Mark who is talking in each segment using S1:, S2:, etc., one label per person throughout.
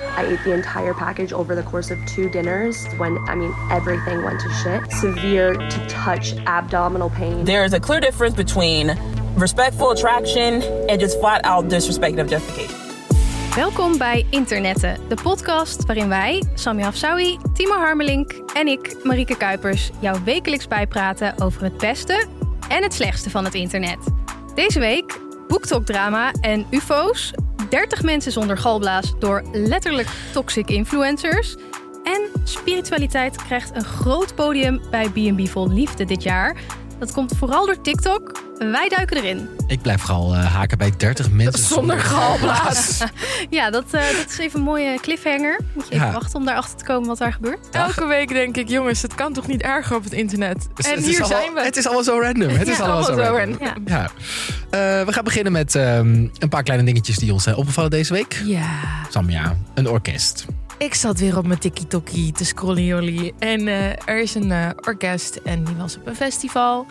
S1: I ate the entire package over the course of two dinners when, I mean, everything went to shit. Severe to touch abdominal pain.
S2: There is a clear difference between respectful attraction and just flat out disrespect of justification.
S3: Welkom bij Internetten, de podcast waarin wij, Sami Hafsawi, Timo Harmelink en ik, Marieke Kuipers, jou wekelijks bijpraten over het beste en het slechtste van het internet. Deze week boektalkdrama en UFO's, 30 mensen zonder galblaas door letterlijk toxic influencers en spiritualiteit krijgt een groot podium bij B&B Vol Liefde dit jaar. Dat komt vooral door TikTok. Wij duiken erin.
S4: Ik blijf vooral eh, haken bij 30 mensen
S2: Zonder galblaas.
S3: Ja, dat, eh, dat is even een mooie cliffhanger. Moet je even
S4: Ja.
S3: wachten om daarachter te komen wat daar gebeurt.
S5: Elke week denk ik, jongens, het kan toch niet erger op het internet?
S4: Dus
S5: en
S4: het is
S5: hier
S4: allemaal-
S5: zijn we.
S4: Het is allemaal zo random. Het is allemaal zo random.
S3: Ja.
S4: Ja. Eh, we gaan beginnen met ehm, een paar kleine dingetjes die ons zijn opgevallen deze week.
S5: Ja,
S4: Samja, een orkest.
S5: ik zat weer op mijn tiki-toki te scrollen, jullie. En eh, er is een eh, orkest en die was op een festival.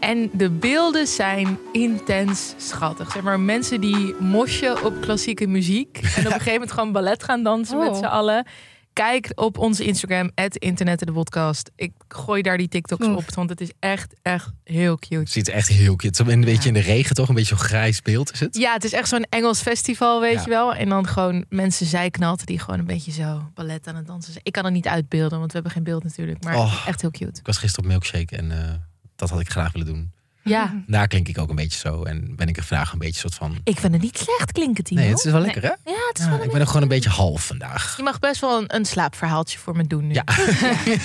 S5: En de beelden zijn intens schattig. Zeg maar, mensen die mosje op klassieke muziek. En op een gegeven moment gewoon ballet gaan dansen
S3: Oh.
S5: met z'n allen. Kijk op onze Instagram, het internet en de podcast. Ik gooi daar die TikToks
S3: Oef.
S5: op, want het is echt, echt heel cute.
S4: Het ziet er echt heel cute. Zo Een beetje in de regen toch? Een beetje zo'n grijs beeld is het?
S5: Ja, het is echt zo'n Engels festival, weet
S4: Ja.
S5: je wel. En dan gewoon mensen zijknalten die gewoon een beetje zo ballet aan het dansen zijn. Ik kan het niet uitbeelden, want we hebben geen beeld natuurlijk. Maar
S4: Oh.
S5: echt heel cute.
S4: Ik was gisteren op Milkshake en eh, dat had ik graag willen doen.
S5: Ja,
S4: Daar klink ik ook een beetje zo. En ben ik er vandaag een beetje soort van...
S5: ik vind het niet slecht klinken, Timo.
S4: Nee, het is wel lekker hè?
S5: Ja, het is
S4: Ja,
S5: wel
S4: ik
S5: een-
S4: ben er gewoon een beetje half vandaag.
S5: Je mag best wel een, een slaapverhaaltje voor me doen nu.
S4: Ja.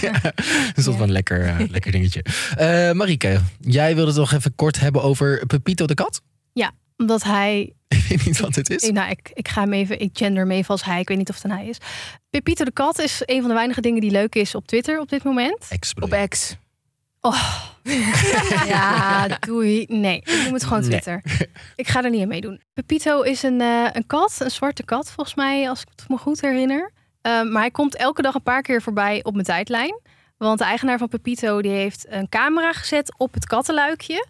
S4: ja. Dus dat was een lekker, eh, lekker dingetje. Eh Marieke, jij wilde het nog even kort hebben over Pepito de kat?
S3: Omdat hij.
S4: Ik weet niet wat het is.
S3: Ik, nou, ik, ik ga hem even. Ik gender hem even als hij. Ik weet niet of het een hij is. Pepito de Kat is een van de weinige dingen die leuk is op Twitter op dit moment.
S4: Ex bedoel je?
S5: Op X.
S3: Oh. ja, doei. Nee, ik noem het gewoon
S4: Nee.
S3: Twitter. Ik ga er niet aan meedoen. Pepito is een, eh, een kat, een zwarte kat volgens mij, als ik het me goed herinner. Eh, maar hij komt elke dag een paar keer voorbij op mijn tijdlijn. Want de eigenaar van Pepito die heeft een camera gezet op het kattenluikje.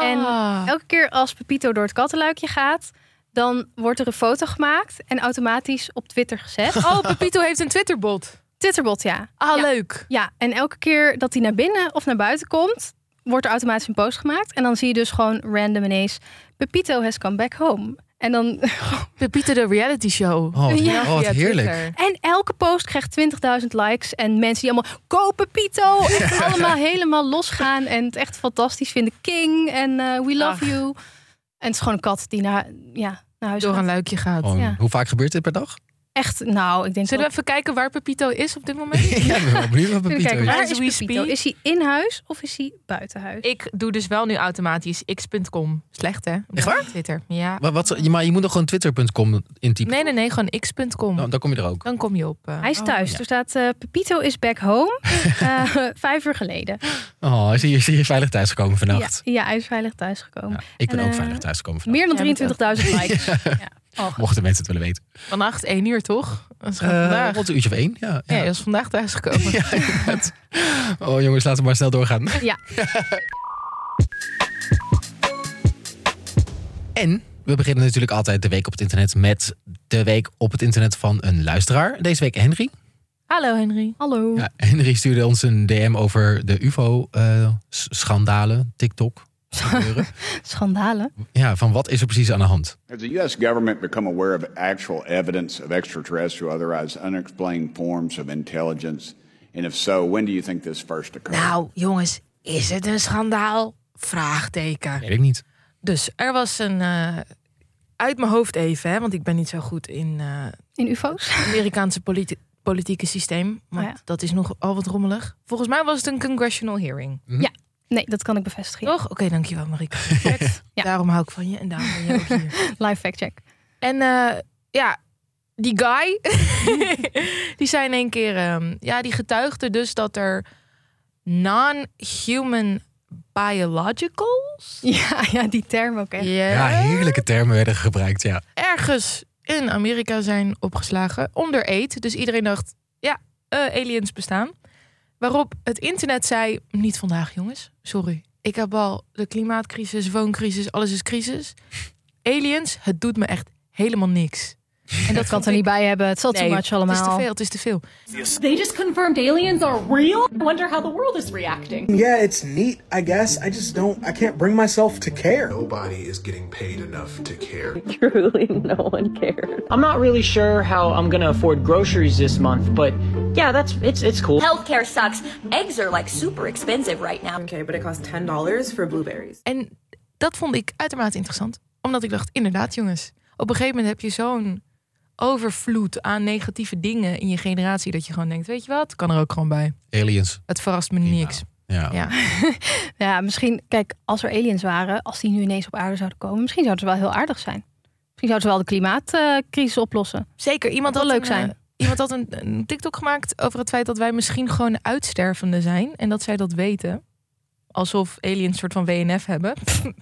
S3: En
S5: Ah.
S3: Elke keer als Pepito door het kattenluikje gaat, dan wordt er een foto gemaakt en automatisch op Twitter gezet.
S5: Oh, Pepito heeft een Twitterbot.
S3: Twitterbot, ja.
S5: Ah,
S3: Ja.
S5: leuk.
S3: Ja, en elke keer dat hij naar binnen of naar buiten komt, wordt er automatisch een post gemaakt. En dan zie je dus gewoon random ineens, Pepito has come back home. En, dan,
S5: Pepito de reality show.
S4: Oh, wat,
S3: Ja,
S4: oh, wat
S5: Via
S4: heerlijk.
S5: Twitter.
S3: en elke post krijgt 20.000 likes. En mensen die allemaal, koop Pepito! En allemaal helemaal losgaan en het echt fantastisch vinden. King en eh, we love
S5: Ach.
S3: you. En het is gewoon een kat die naar, ja, naar huis
S5: Door
S3: gaat.
S5: een luikje gaat.
S4: Gewoon,
S3: Ja.
S4: Hoe vaak gebeurt dit per dag?
S3: Echt, nou, ik denk
S5: Zullen we even kijken waar Pepito is op dit moment?
S4: ja, ik ben wel benieuwd wat
S3: Even
S4: Pepito
S3: kijken,
S4: is.
S3: waar
S5: As
S3: is
S5: we
S3: Pepito?
S5: speak.
S3: Is hij in huis of is hij buiten huis?
S5: Ik doe dus wel nu automatisch x.com. Slecht, hè? Op
S4: Echt waar?
S5: Twitter. Ja.
S4: Maar, wat, maar je moet nog gewoon twitter.com intypen.
S5: Nee, nee, nee. Gewoon x.com.
S4: Nou, dan kom je er ook.
S5: Dan kom je op. eh,
S3: Hij is
S5: oh,
S3: thuis.
S4: ja.
S3: Er staat eh, Pepito is back home. Eh, vijf uur geleden.
S4: Oh, is hier, is hier veilig thuisgekomen
S3: Ja,
S4: vannacht?
S3: ja, hij is veilig thuisgekomen.
S4: Ja, ik ben
S3: En,
S4: ook
S3: eh,
S4: veilig thuisgekomen vannacht.
S3: Meer dan
S5: Ja, met
S3: 23.000 likes. Ja. Oh,
S4: Mochten mensen het willen weten.
S5: Vannacht 1 uur, toch? Dat is gewoon
S4: Eh
S5: vandaag.
S4: rond een uurtje of één. Ja,
S5: Ja,
S4: ja.
S5: hij is vandaag thuisgekomen.
S4: Ja, inderdaad. Oh jongens, laten we maar snel doorgaan.
S3: Ja.
S4: en we beginnen natuurlijk altijd de week op het internet met de week op het internet van een luisteraar. Deze week Henry.
S5: Hallo Henry.
S3: hallo.
S4: Ja, Henry stuurde ons een DM over de UFO-schandalen, eh, TikTok. gebeuren.
S3: Schandalen.
S4: ja, van wat is er precies aan de hand?
S6: Has the U.S. government become aware of actual evidence of extraterrestrial, otherwise unexplained forms of intelligence? And if so, when do you think this first occurred?
S5: Nou, jongens, is het een schandaal? Vraagteken.
S4: Weet ik niet.
S5: Dus er was een. eh, uit mijn hoofd even, hè, want ik ben niet zo goed in eh,
S3: In UFO's.
S5: Amerikaanse politi- politieke systeem. Want
S3: Oh ja.
S5: dat is nogal wat rommelig. Volgens mij was het een congressional hearing.
S3: Nee, dat kan ik bevestigen.
S5: Toch? Oké, dankjewel Marieke.
S3: Ja.
S5: Daarom hou ik van je en daarom ben je ook hier.
S3: Live fact check.
S5: En eh, ja, die guy, die zei in één keer, ehm, ja, die getuigde dus dat er non-human biologicals
S3: Ja, ja, die term ook echt.
S5: ja,
S4: Ja, heerlijke termen werden gebruikt, ja.
S5: ergens in Amerika zijn opgeslagen onder eet. Dus iedereen dacht, ja, eh, aliens bestaan. Waarop het internet zei, niet vandaag jongens, sorry. Ik heb al de klimaatcrisis, wooncrisis, alles is crisis. Aliens, het doet me echt helemaal niks. En dat
S3: Kan
S5: vond
S3: er niet
S5: ik-
S3: bij hebben. Het zal
S5: Nee,
S3: too much
S5: Het is te
S3: allemaal.
S5: veel, het is te veel.
S7: They just confirmed aliens are real? I wonder how the world is reacting.
S8: Yeah, it's neat, I guess. I just don't, I can't bring myself to care.
S9: Nobody is getting paid enough to care.
S10: Truly, no one cares.
S11: I'm not really sure how I'm gonna afford groceries this month, but yeah, that's it's it's cool.
S10: Healthcare sucks. Eggs are like super expensive right now.
S7: Okay, but it costs $10 for blueberries.
S5: En dat vond ik uitermate interessant. Omdat ik dacht, inderdaad jongens, op een gegeven moment heb je zo'n overvloed aan negatieve dingen in je generatie. Dat je gewoon denkt, weet je wat, kan er ook gewoon bij.
S4: Aliens.
S5: Het verrast me niks.
S4: Ja.
S5: Ja.
S3: Ja, misschien, kijk, als er aliens waren, als die nu ineens op aarde zouden komen, misschien zouden ze wel heel aardig zijn. Misschien zouden ze wel de klimaatcrisis oplossen.
S5: Zeker, iemand
S3: Dat
S5: had
S3: wil leuk
S5: een, eh,
S3: zijn.
S5: Iemand had een, een TikTok gemaakt over het feit dat wij misschien gewoon uitstervende zijn. En dat zij dat weten. Alsof aliens een soort van WNF hebben.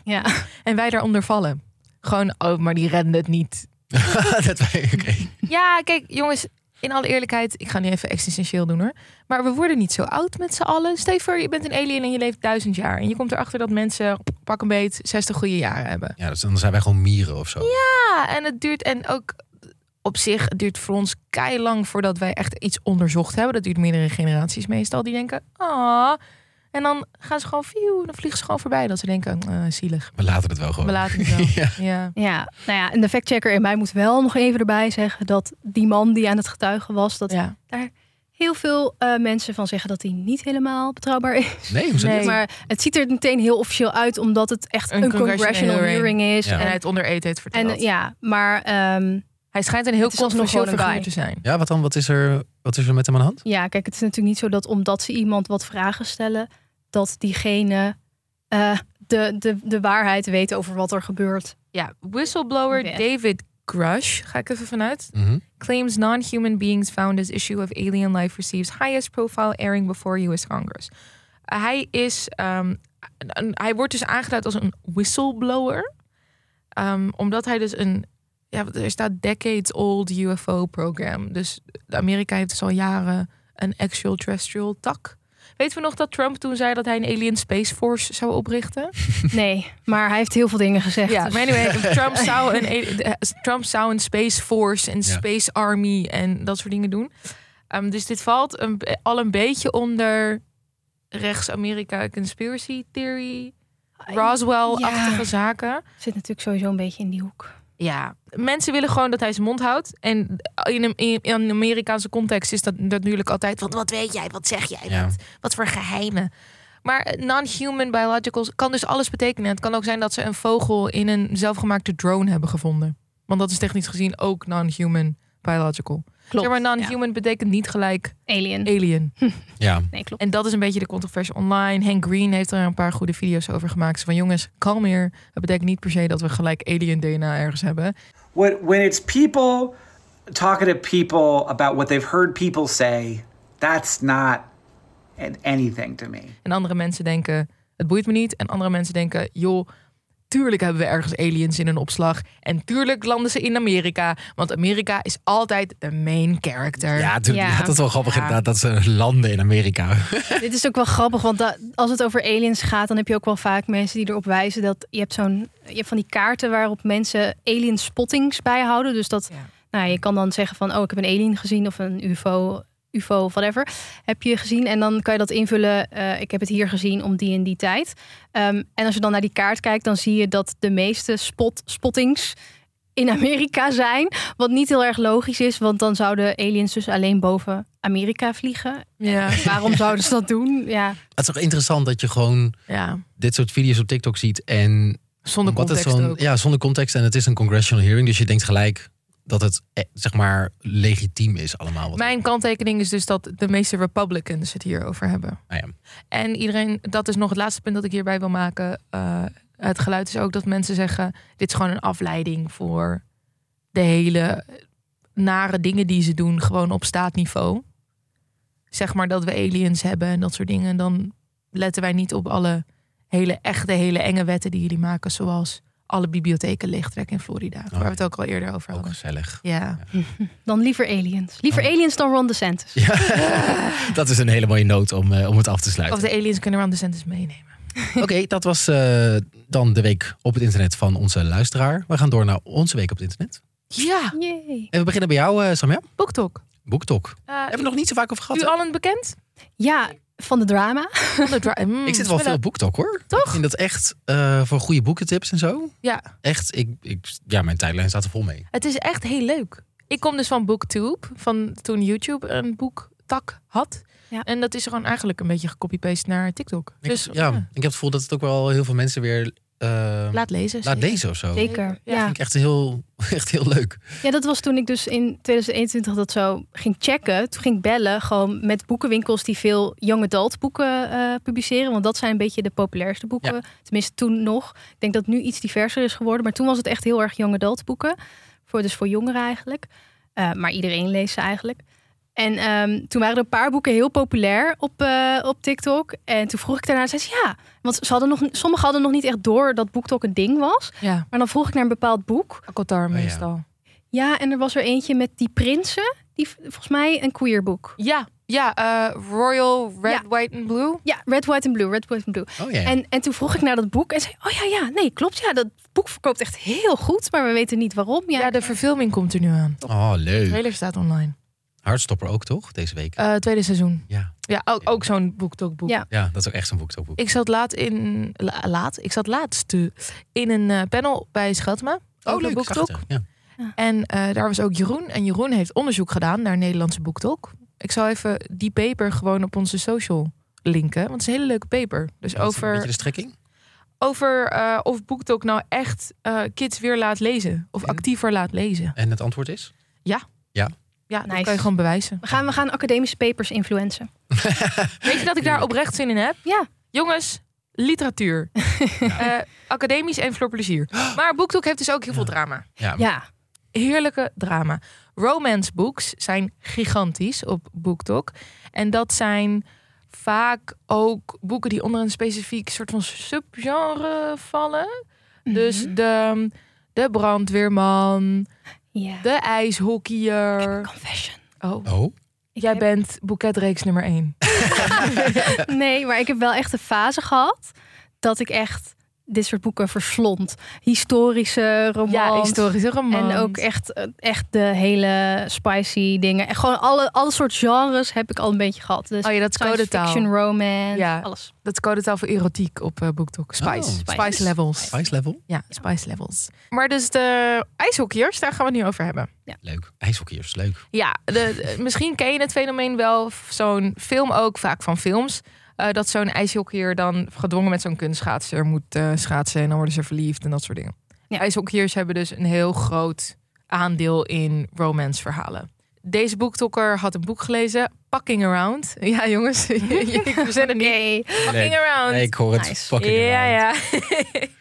S3: Ja,
S5: En wij daaronder vallen. Gewoon, oh, maar die redden het niet.
S4: dat wij, oké.
S5: Ja, kijk, jongens, in alle eerlijkheid, ik ga nu even existentieel doen hoor. Maar we worden niet zo oud met z'n allen. Stel je voor, je bent een alien en je leeft duizend jaar. En je komt erachter dat mensen, pak een beet, 60 goede jaren hebben.
S4: Ja, dus dan zijn wij gewoon mieren of zo.
S5: Ja, en het duurt, en ook op zich, het duurt voor ons lang voordat wij echt iets onderzocht hebben. Dat duurt meerdere generaties meestal. Die denken, ah. En dan gaan ze gewoon, view, dan vliegen ze gewoon voorbij. Dat ze denken, eh, zielig.
S4: We laten het wel gewoon.
S5: We laten het wel.
S4: Oh. Ja.
S5: ja.
S3: ja. nou ja, en de factchecker in mij moet wel nog even erbij zeggen dat die man die aan het getuigen was, dat
S5: ja.
S3: daar heel veel eh, mensen van zeggen dat hij niet helemaal betrouwbaar is.
S4: Nee, hoezo
S5: Nee.
S4: niet?
S3: Maar het ziet er meteen heel officieel uit, omdat het echt een,
S5: Een
S3: congressional,
S5: congressional
S3: hearing
S5: hearing.
S3: is.
S4: Ja.
S5: En
S3: En,
S5: hij het onder eten heeft verteld.
S3: en, ja, maar ehm,
S5: Hij schijnt een heel
S3: Het is alsnog
S5: controversieel
S3: gewoon een
S5: figuur te zijn.
S4: Ja, wat dan? Wat is, er, wat is er met hem aan de hand?
S3: Ja, kijk, het is natuurlijk niet zo dat omdat ze iemand wat vragen stellen, dat diegene eh, de, de, de waarheid weet over wat er gebeurt.
S5: Ja, whistleblower
S3: Weg.
S5: David Grush, ga ik even vanuit,
S4: Mhm.
S5: claims non-human beings found as issue of alien life receives highest profile airing before U.S. Congress. Uh, hij is, ehm, een- hij wordt dus aangeduid als een whistleblower, ehm, omdat hij dus een, ja, er staat decades old UFO program. Dus Amerika heeft dus al jaren een actual terrestrial tak. Weten we nog dat Trump toen zei dat hij een alien space force zou oprichten?
S3: Nee, maar hij heeft heel veel dingen gezegd.
S5: Ja,
S3: dus-
S5: maar anyway, Trump zou een, eh, Trump zou een Space Force en
S4: Ja.
S5: Space Army en dat soort dingen doen. Ehm, dus dit valt een, al een beetje onder rechts-Amerika conspiracy theory, Roswell-achtige
S3: Ja.
S5: zaken.
S3: Zit natuurlijk sowieso een beetje in die hoek.
S5: Ja, mensen willen gewoon dat hij zijn mond houdt. En in een, in in een Amerikaanse context is dat natuurlijk altijd... Wat, wat weet jij? Wat zeg jij?
S4: Ja.
S5: Wat, wat voor geheimen? Maar eh, non-human biologicals kan dus alles betekenen. Het kan ook zijn dat ze een vogel in een zelfgemaakte drone hebben gevonden. Want dat is technisch gezien ook non-human biological.
S3: Klopt.
S5: zeg maar non-human betekent niet gelijk
S3: ja. Alien.
S5: alien.
S4: Ja.
S3: Nee, klopt.
S5: En dat is een beetje de controverse online. Hank Green heeft er een paar goede video's over gemaakt. Zo Van jongens, kalmeer. Het betekent niet per se dat we gelijk alien DNA ergens hebben.
S8: What, when it's people talking to people about what they've heard people say, that's not an- anything to me.
S5: En andere mensen denken, het boeit me niet. En andere mensen denken, joh, tuurlijk hebben we ergens aliens in een opslag. En tuurlijk landen ze in Amerika. Want Amerika is altijd de main character.
S4: Ja, toen,
S3: Ja.
S4: dat is wel grappig inderdaad dat ze landen in Amerika.
S3: Dit is ook wel grappig, want da- als het over aliens gaat, dan heb je ook wel vaak mensen die erop wijzen dat je hebt zo'n je hebt van die kaarten waarop mensen alien spottings bijhouden. Dus dat
S5: Ja.
S3: nou, je kan dan zeggen van oh, ik heb een alien gezien of een UFO, UFO of whatever. Heb je gezien en dan kan je dat invullen. eh, ik heb het hier gezien om die en die tijd. Ehm, en als je dan naar die kaart kijkt, dan zie je dat de meeste spot, spottings in Amerika zijn. Wat niet heel erg logisch is, want dan zouden aliens dus alleen boven Amerika vliegen.
S5: ja.
S3: Waarom zouden ze dat doen? Ja.
S4: Het is toch interessant dat je gewoon
S5: ja.
S4: dit soort video's op TikTok ziet en
S5: Zonder
S4: Omdat
S5: context
S4: het zo'n-
S5: ook.
S4: Ja, zonder context. En het is een congressional hearing. Dus je denkt gelijk dat het eh, zeg maar legitiem is allemaal. Wat
S5: Mijn kanttekening is dus dat de meeste Republicans het hierover hebben.
S4: Nou ja.
S5: En iedereen, dat is nog het laatste punt dat ik hierbij wil maken. Eh, het geluid is ook dat mensen zeggen: dit is gewoon een afleiding voor de hele nare dingen die ze doen, gewoon op staatniveau. Zeg maar dat we aliens hebben en dat soort dingen. En dan letten wij niet op alle hele echte, hele enge wetten die jullie maken, zoals alle bibliotheken leegtrekken in Florida. waar we het ook al eerder over
S4: Ook
S5: hadden.
S4: gezellig.
S5: Ja.
S3: Dan liever aliens. Liever aliens dan Ron DeSantis.
S4: Dat is een hele mooie noot om, eh, om het af te
S5: Of
S4: sluiten.
S5: de aliens kunnen we aan de centers meenemen.
S4: Oké, dat was eh, dan de week op het internet van onze luisteraar. We gaan door naar onze week op het internet.
S5: Ja.
S4: En we beginnen bij jou, eh Samia.
S5: BookTok.
S4: BookTok. Hebben we nog niet zo vaak over gehad?
S5: Eh, U
S4: hè?
S5: allen bekend?
S3: Ja, van de drama.
S5: De dra- mm,
S4: Ik zit wel veel op BookTok hoor.
S5: Toch?
S4: Ik vind dat echt eh, voor goede boekentips en zo.
S5: Ja,
S4: Echt, ik, ik, ja, mijn tijdlijn staat er vol mee.
S5: het is echt heel leuk. Ik kom dus van BookTube, van toen YouTube een boektak had.
S3: Ja.
S5: En dat is gewoon eigenlijk een beetje gecopy-paste naar TikTok.
S4: Ik,
S5: dus
S4: ja, ik heb het gevoel dat het ook wel heel veel mensen weer eh,
S5: laat lezen.
S4: laat
S5: zeker.
S4: lezen of zo. Vind
S3: Zeker.
S5: Ja.
S3: Ja.
S4: ik echt heel, echt heel leuk.
S3: ja, dat was toen ik dus in 2021 dat zo ging checken. Toen ging ik bellen gewoon met boekenwinkels die veel young adult boeken eh, publiceren. Want dat zijn een beetje de populairste boeken. Tenminste toen nog. Ik denk dat het nu iets diverser is geworden. Maar toen was het echt heel erg young adult boeken. Voor, dus voor jongeren eigenlijk. Eh, maar iedereen leest ze eigenlijk. En ehm, toen waren er een paar boeken heel populair op, eh, op TikTok. En toen vroeg ik daarna, zei ze ja. Want ze hadden nog, sommigen hadden nog niet echt door dat BookTok een ding was.
S5: Ja,
S3: Maar dan vroeg ik naar een bepaald boek.
S5: Akotar
S4: Ah, ja.
S5: meestal.
S3: Ja, en er was er eentje met die prinsen. Die v- volgens mij een queerboek.
S5: Ja, ja eh, Royal Red,
S3: Ja.
S5: White and Blue.
S3: Ja, Red, White and Blue. Red, White and Blue.
S4: Oh ja.
S3: En, en toen vroeg ik naar dat boek en zei: Oh ja, ja, nee, klopt. Ja, dat boek verkoopt echt heel goed, maar we weten niet waarom. Ja,
S5: Ja, de verfilming komt er nu aan.
S4: oh,
S5: De
S4: leuk.
S5: trailer staat online.
S4: Hartstopper ook toch, deze week?
S5: Eh, tweede seizoen.
S4: ja.
S5: Ja, ook, ook zo'n BookTok-boek.
S3: Ja.
S4: ja, dat is ook echt zo'n BookTok-boek.
S5: Ik zat laat in la- laat. Ik zat laatst eh, in een eh, panel bij Scheltma. over BookTok.
S4: Oh, Prachtig, Ja.
S5: En eh, daar was ook Jeroen. En Jeroen heeft onderzoek gedaan naar Nederlandse BookTok. Ik zal even die paper gewoon op onze social linken. Want het is een hele leuke paper. Dus
S4: Over... Een
S5: over,
S4: beetje de strekking?
S5: over eh, of BookTok nou echt eh, kids weer laat lezen. Of
S4: En?
S5: actiever laat lezen.
S4: En het antwoord is?
S5: Ja, dat
S3: Nice.
S5: kan je gewoon bewijzen.
S3: we, gaan, we gaan academische papers influencen.
S5: Weet je dat ik daar oprecht zin in heb?
S3: Ja.
S5: Jongens, literatuur. Eh, academisch en voor plezier. Maar BookTok heeft dus ook heel veel drama.
S4: Ja.
S3: Ja,
S5: heerlijke drama. Romance books zijn gigantisch op BookTok. En dat zijn vaak ook boeken die onder een specifiek soort van subgenre vallen. Dus de, de brandweerman,
S3: ja.
S5: de ijshockeyer.
S3: Confession.
S5: Oh,
S4: Oh,
S5: jij bent boeketreeks nummer één.
S3: Nee, maar ik heb wel echt een fase gehad dat ik echt dit soort boeken verslond. Historische romans.
S5: Ja, historische roman.
S3: En ook echt, eh, echt de hele spicy dingen. En gewoon alle, alle soort genres heb ik al een beetje gehad. Dus
S5: Oh ja, dat is
S3: science
S5: codetaal.
S3: fiction, romance,
S5: Ja.
S3: alles.
S5: Dat is codetaal voor erotiek op eh, BookTok. Spice.
S4: Oh.
S5: spice.
S3: Spice.
S5: levels.
S4: spice level?
S5: Ja, spice levels. Maar dus de ijshockeyers, daar gaan we het nu over hebben.
S4: Leuk. IJshockeyers, leuk.
S5: Ja, de, de- misschien ken je het fenomeen wel. f- Zo'n film ook, vaak van films. eh, dat zo'n ijshockeyer dan gedwongen met zo'n kunstschaatser moet eh, schaatsen. En dan worden ze verliefd en dat soort dingen.
S3: Ja.
S5: IJshockeyers hebben dus een heel groot aandeel in romance verhalen. Deze boektokker had een boek gelezen, Packing Around. Ja, jongens, ik verzin het niet. Packing Around.
S4: Nee, ik hoor het
S3: Nice.
S4: fucking
S5: Ja,
S4: around.
S5: ja.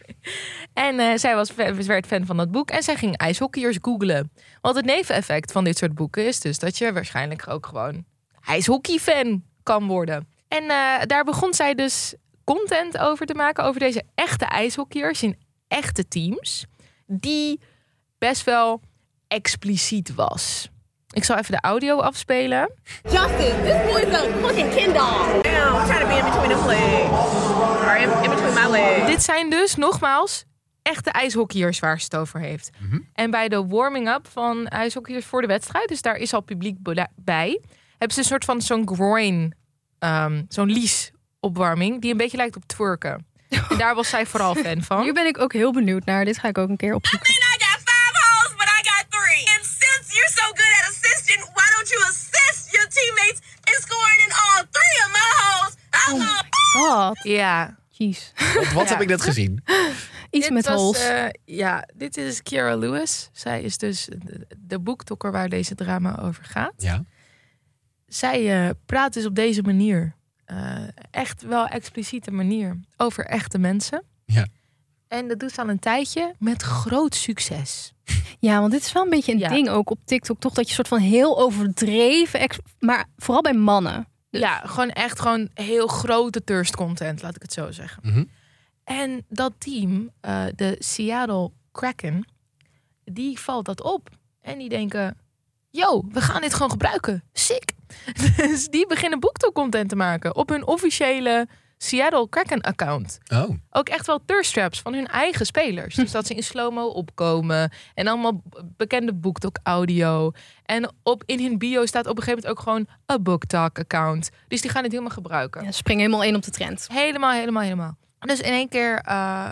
S5: en eh, zij was, fa- werd fan van dat boek en zij ging ijshockeyers googlen. Want het neveneffect van dit soort boeken is dus dat je waarschijnlijk ook gewoon ijshockeyfan kan worden. En eh, daar begon zij dus content over te maken over deze echte ijshockeyers in echte teams. Die best wel expliciet was. Ik zal even de audio afspelen.
S10: Justin, this boy's a fucking Ken doll.
S2: Damn, I'm trying to be in between them legs. Or in, in between my legs.
S5: Dit zijn dus nogmaals echte ijshockeyers waar ze het over heeft. En bij de warming-up van ijshockeyers voor de wedstrijd, dus daar is al publiek bela- bij, hebben ze een soort van zo'n groin, ehm, zo'n lies opwarming, die een beetje lijkt op twerken. En daar was zij vooral fan
S3: Hier
S5: van.
S3: ben ik ook heel benieuwd naar. Dit ga ik ook een keer opzoeken.
S10: mean, I got five holes, but I got three. And since you're so good at assisting, why don't you assist your teammates in scoring in all three of my holes?
S12: Oh.
S10: I'm gonna
S3: God,
S5: Ja,
S3: jeez.
S4: Wat, wat
S5: Ja.
S4: heb ik net gezien?
S3: Iets met
S5: was,
S3: hols.
S5: eh, ja, dit is Kiara Lewis. Zij is dus de, de boektokker waar deze drama over gaat.
S4: Ja.
S5: zij eh, praat dus op deze manier, eh, echt wel expliciete manier, over echte mensen.
S4: Ja.
S5: En dat doet ze al een tijdje met groot succes.
S3: Ja, want dit is wel een beetje een
S5: Ja.
S3: ding ook op TikTok. Toch dat je soort van heel overdreven... ex- Maar vooral bij mannen.
S5: Ja, Dus gewoon echt gewoon heel grote thirst content, laat ik het zo zeggen.
S4: Mhm.
S5: En dat team, eh, de Seattle Kraken, die valt dat op. En die denken, yo, we gaan dit gewoon gebruiken. Sick. Dus die beginnen BookTok content te maken op hun officiële Seattle Kraken-account.
S4: Oh.
S5: Ook echt wel thirst traps van hun eigen spelers. Dus dat ze in slow-mo opkomen. En allemaal b- bekende BookTok-audio. En op, in hun bio staat op een gegeven moment ook gewoon een BookTok-account. Dus die gaan het helemaal gebruiken.
S3: Ja, spring helemaal in op de trend.
S5: Helemaal, helemaal, helemaal. Dus in één keer eh,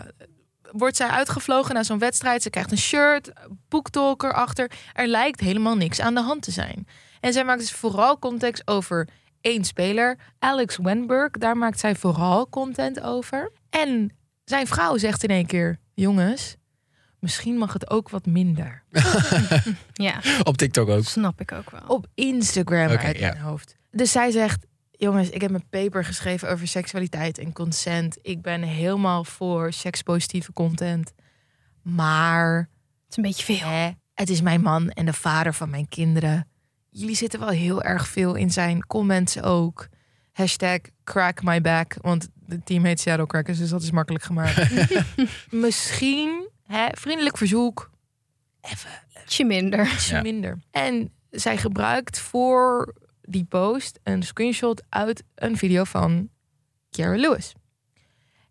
S5: wordt zij uitgevlogen naar zo'n wedstrijd. Ze krijgt een shirt, boektalk erachter. Er lijkt helemaal niks aan de hand te zijn. En zij maakt dus vooral context over één speler, Alex Wenberg. Daar maakt zij vooral content over. En zijn vrouw zegt in één keer: Jongens, misschien mag het ook wat minder.
S3: Ja,
S4: Op TikTok ook.
S3: snap ik ook wel.
S5: Op Instagram
S4: Oké,
S5: uit
S4: ja.
S5: mijn hoofd. Dus zij zegt: Jongens, ik heb een paper geschreven over seksualiteit en consent. Ik ben helemaal voor sekspositieve content. Maar
S3: Het is een beetje veel.
S5: hè, het is mijn man en de vader van mijn kinderen. Jullie zitten wel heel erg veel in zijn comments ook. Hashtag crack my back. Want het team heet Shadow Crackers, dus dat is makkelijk gemaakt. Misschien, hè, vriendelijk verzoek,
S3: Ietsje minder.
S5: ietsje
S4: Ja.
S5: minder. En zij gebruikt voor die post een screenshot uit een video van Kiara Lewis.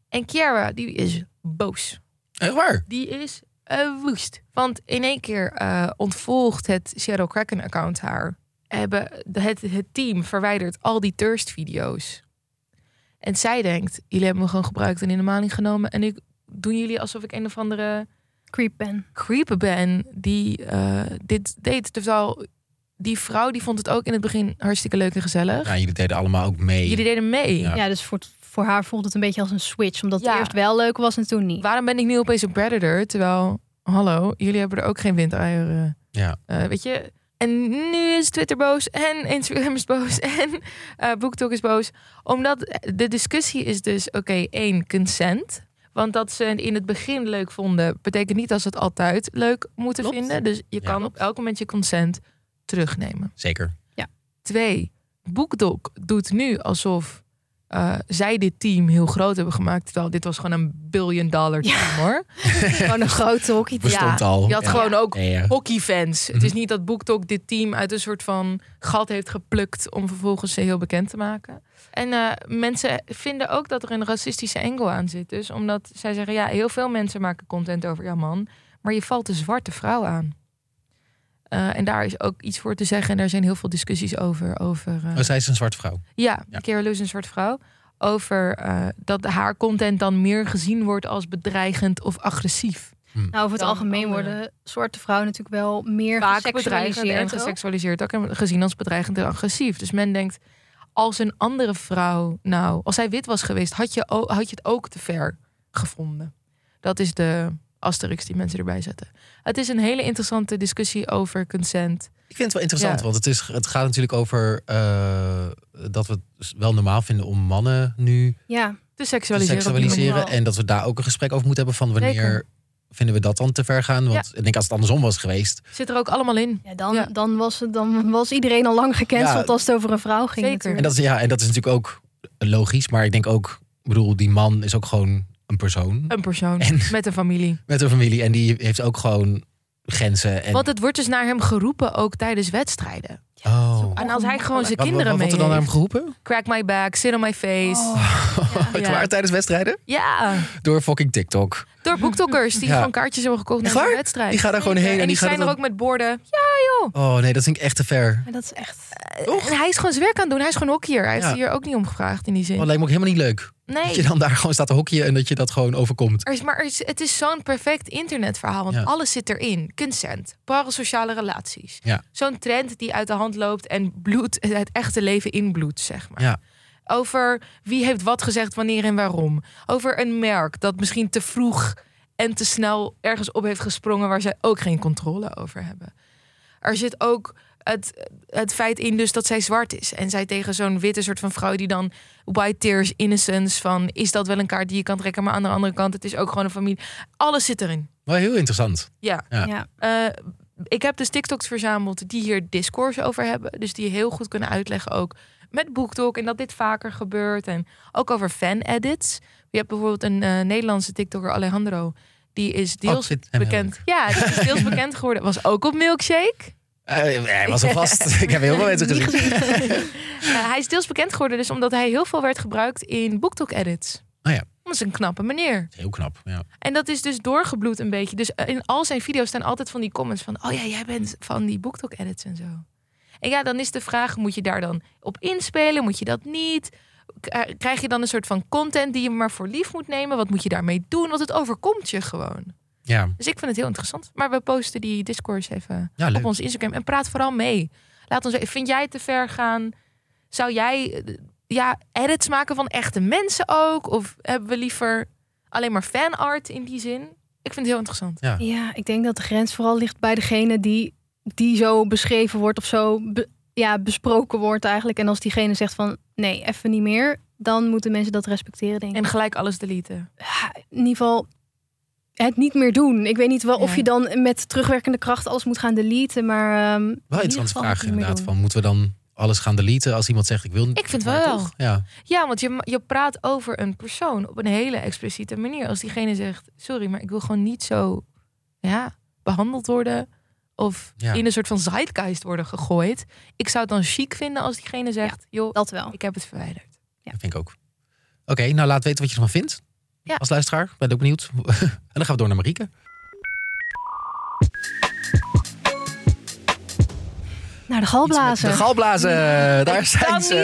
S5: En Kiara, die is boos.
S4: Echt waar?
S5: Die is eh, woest. Want in één keer eh, ontvolgt het Seattle Kraken-account haar. Hebben de- het, het team verwijderd al die thirst-video's. En zij denkt, jullie hebben me gewoon gebruikt en in de maling genomen. En nu doen jullie alsof ik een of andere
S3: Creep ben.
S5: creeper ben die eh, dit deed. Terwijl die vrouw, die vond het ook in het begin hartstikke leuk en gezellig.
S4: Ja, jullie deden allemaal ook mee.
S5: Jullie deden mee.
S4: Ja.
S3: Ja, dus voor, voor haar voelt het een beetje als een switch. Omdat
S5: Ja.
S3: het eerst wel leuk was en toen niet.
S5: Waarom ben ik nu opeens een predator? Terwijl, hallo, jullie hebben er ook geen windeieren.
S4: Ja.
S5: Eh, weet je? En nu is Twitter boos en Instagram is boos en eh BookTok is boos. Omdat de discussie is dus, oké, één, consent. Want dat ze het in het begin leuk vonden, betekent niet dat ze het altijd leuk moeten
S4: Klopt.
S5: vinden. Dus je
S4: Ja.
S5: kan op elk moment je consent terugnemen.
S4: Zeker.
S5: Twee, BookDok doet nu alsof eh, zij dit team heel groot hebben gemaakt. Terwijl dit was gewoon een billion dollar team hoor.
S3: Gewoon Oh, een grote hockey.
S4: Bestond al.
S5: Je had
S4: Ja.
S5: gewoon ook
S4: Nee, ja. Mhm.
S5: hockeyfans. Het is niet dat BookTok dit team uit een soort van gat heeft geplukt om vervolgens ze heel bekend te maken. En eh, mensen vinden ook dat er een racistische angle aan zit. Dus omdat zij zeggen, ja, heel veel mensen maken content over jouw man, maar je valt de zwarte vrouw aan. Eh, en daar is ook iets voor te zeggen. En daar zijn heel veel discussies over. over eh,
S4: Oh, zij is een zwarte vrouw.
S5: ja,
S4: Ja.
S5: Kira Lewis, een soort vrouw. Over eh, dat haar content dan meer gezien wordt als bedreigend of agressief.
S4: Mm.
S3: Nou, over het
S5: Dan
S3: algemeen
S5: andere.
S3: worden zwarte vrouwen natuurlijk wel meer
S5: Vaak bedreigend en
S3: geseksualiseerd. ook.
S5: geseksualiseerd. Ook en gezien als bedreigend en agressief. Dus men denkt, als een andere vrouw nou... Als zij wit was geweest, had je, o- had je het ook te ver gevonden. Dat is de asterix die mensen erbij zetten. Het is een hele interessante discussie over consent.
S4: Ik vind het wel interessant,
S5: Ja.
S4: want het, is, het gaat natuurlijk over eh, dat we het wel normaal vinden om mannen nu
S3: Ja,
S5: Te
S4: te
S5: seksualiseren. op die manier.
S4: seksualiseren.
S3: manier.
S4: En dat we daar ook een gesprek over moeten hebben van wanneer
S5: Zeker.
S4: vinden we dat dan te ver gaan. Want ik denk als het andersom was geweest.
S5: Zit er ook allemaal in.
S3: ja, dan,
S5: Ja.
S3: Dan, was het, dan was iedereen al lang gecanceld
S4: Ja.
S3: als het over een vrouw ging.
S5: Zeker.
S4: En
S3: natuurlijk.
S4: dat, is, ja, en dat is natuurlijk ook logisch, maar ik denk ook, ik bedoel, die man is ook gewoon een persoon
S5: Een persoon
S4: En-
S5: met een familie.
S4: met een familie en die heeft ook gewoon grenzen. En,
S5: Want het wordt dus naar hem geroepen ook tijdens wedstrijden.
S4: oh.
S5: En als hij gewoon zijn
S4: Wat- wat-
S5: kinderen
S4: wat wordt
S5: mee
S4: er dan naar hem
S5: heeft.
S4: geroepen?
S5: Crack my back, sit on my face.
S4: Het
S5: Ja.
S4: waren tijdens wedstrijden?
S5: Ja,
S4: Door fucking TikTok.
S5: door boektokkers die
S4: Ja.
S5: gewoon kaartjes hebben gekocht
S4: Echt
S5: naar de
S4: waar?
S5: wedstrijd.
S4: Die gaan er gewoon heen en
S5: En
S4: die
S5: die
S4: gaan
S5: zijn
S4: er
S5: er ook
S4: dan-
S5: met borden. Ja, joh.
S4: Oh nee, dat vind ik echt te ver.
S3: Maar dat is echt...
S5: En hij is gewoon zijn werk aan het doen. Hij is gewoon hockeyer. Hij
S4: Ja.
S5: heeft hier ook niet om gevraagd in die
S4: Dat
S5: zin.
S4: Oh, lijkt me ook helemaal niet leuk. Dat je
S5: Nee.
S4: dan daar gewoon staat te hockeyen en dat je dat gewoon overkomt.
S5: Er is, maar er is- het is zo'n perfect internetverhaal. Want
S4: Ja.
S5: alles zit erin. Consent, parasociale relaties.
S4: Ja.
S5: Zo'n trend die uit de hand loopt en bloed, het echte leven inbloedt, zeg maar.
S4: Ja.
S5: Over wie heeft wat gezegd, wanneer en waarom. Over een merk dat misschien te vroeg en te snel ergens op heeft gesprongen waar zij ook geen controle over hebben. Er zit ook het, het feit in dus dat zij zwart is. En zij tegen zo'n witte soort van vrouw die dan white tears innocence van... is dat wel een kaart die je kan trekken? Maar aan de andere kant, het is ook gewoon een familie. Alles zit erin.
S4: Maar heel interessant.
S5: Ja.
S4: Ja.
S3: Ja.
S5: Eh, ik heb dus TikToks verzameld die hier discourse over hebben. Dus die heel goed kunnen uitleggen ook met BookTok en dat dit vaker gebeurt. En ook over fan-edits. Je hebt bijvoorbeeld een eh, Nederlandse TikToker, Alejandro. Die is deels
S4: zit hem heel
S5: bekend. Ja, die is deels bekend geworden. Was ook op Milkshake.
S4: Eh, hij was al vast. Ik heb heel veel mensen
S5: Niet
S4: gezien.
S5: gezien. Eh, hij is deels bekend geworden dus omdat hij heel veel werd gebruikt in BookTok-edits.
S4: Oh ja.
S5: Dat is een knappe meneer.
S4: Heel knap. Ja.
S5: En dat is dus doorgebloed een beetje. Dus eh, in al zijn video's staan altijd van die comments van... oh ja, jij bent van die BookTok-edits en zo. En ja, dan is de vraag, moet je daar dan op inspelen? Moet je dat niet? K- eh, Krijg je dan een soort van content die je maar voor lief moet nemen? Wat moet je daarmee doen? Want het overkomt je gewoon.
S4: ja.
S5: Dus ik vind het heel interessant. Maar we posten die discourse even
S4: Ja, leuk.
S5: op ons Instagram. En praat vooral mee. Laat ons weten, vind jij het te ver gaan? Zou jij eh, ja, edits maken van echte mensen ook? Of hebben we liever alleen maar fanart in die zin? Ik vind het heel interessant.
S4: Ja.
S3: Ja, ik denk dat de grens vooral ligt bij degene die, die zo beschreven wordt of zo be- ja, besproken wordt eigenlijk. En als diegene zegt van nee, even niet meer, dan moeten mensen dat respecteren, denk ik.
S5: En gelijk alles deleten.
S3: in ieder geval het niet meer doen. Ik weet niet wel of
S5: Ja.
S3: je dan met terugwerkende kracht alles moet gaan deleten, maar... ehm, in
S4: Wel
S3: ieder
S4: interessante
S3: geval het niet
S4: vraag
S3: meer
S4: inderdaad.
S3: doen.
S4: Van, moeten we dan alles gaan deleten als iemand zegt ik wil
S5: Ik
S4: niet?
S5: vind
S4: maar
S5: wel.
S4: toch? Ja.
S5: Ja, want je, je praat over een persoon op een hele expliciete manier. Als diegene zegt, sorry, maar ik wil gewoon niet zo ja, behandeld worden. Of
S4: Ja.
S5: in een soort van zeitgeist worden gegooid. Ik zou het dan chic vinden als diegene zegt, joh,
S3: Dat wel.
S5: ik heb het verwijderd.
S4: Dat vind ik ook. Oké, nou laat weten wat je ervan vindt.
S5: Ja.
S4: Als luisteraar, ben ik ook benieuwd. en dan gaan we door naar Marieke.
S3: Naar de galblazen.
S4: De galblazen, daar zijn ze.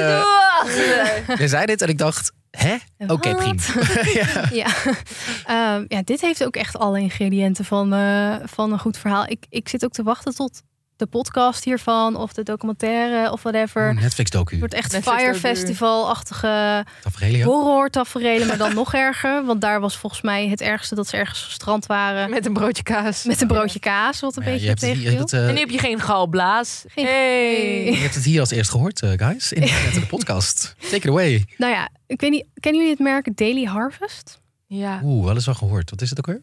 S4: Je zei dit en ik dacht, hè? Oké,
S3: Wat?
S4: prima. ja.
S3: Ja. Ehm, ja, dit heeft ook echt alle ingrediënten van, eh, van een goed verhaal. Ik, ik zit ook te wachten tot de podcast hiervan of de documentaire of whatever. Het
S4: Netflix docu.
S3: wordt echt
S5: Netflix
S3: Fire
S5: ook weer.
S3: Festival-achtige
S4: Tafereelio.
S3: horror tafereelen, maar dan nog erger. Want daar was volgens mij het ergste dat ze ergens gestrand waren
S5: Met een broodje kaas.
S3: met een broodje kaas, wat een
S4: Maar ja,
S3: beetje
S4: je, hebt het, je,
S3: tegenviel.
S4: hebt het, eh,
S5: En nu heb je geen galblaas.
S3: Geen-
S5: Hey.
S4: je hebt het hier als eerst gehoord, eh, guys. In de, de podcast. Take it away.
S3: Nou ja, ik weet niet, kennen jullie het merk Daily Harvest?
S5: Ja.
S4: Oeh, wel eens wel gehoord. Wat is het ook weer?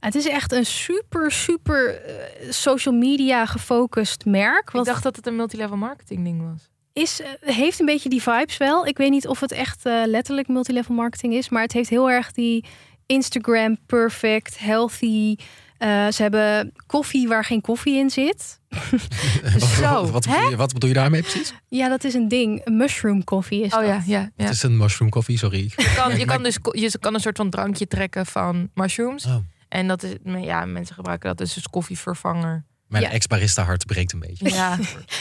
S3: Het is echt een super, super eh, social media gefocust merk.
S5: Ik
S3: Wat
S5: dacht dat het een multilevel marketing ding was.
S3: is, eh, heeft een beetje die vibes wel. Ik weet niet of het echt eh, letterlijk multilevel marketing is, maar het heeft heel erg die Instagram perfect, healthy. Eh, ze hebben koffie waar geen koffie in zit.
S5: Zo,
S4: wat, wat,
S5: hè?
S4: bedoel je, wat bedoel je daarmee precies?
S3: Ja, dat is een ding. Een mushroom koffie is
S5: Oh
S3: dat.
S5: ja, ja, ja.
S4: Het is een mushroom coffee, sorry.
S5: Je kan, je kan dus ko- je kan een soort van drankje trekken van mushrooms.
S4: Oh,
S5: En dat is, maar ja, mensen gebruiken dat dus als koffievervanger.
S4: mijn
S3: Ja.
S4: ex-barista hart breekt een beetje.
S5: Ja,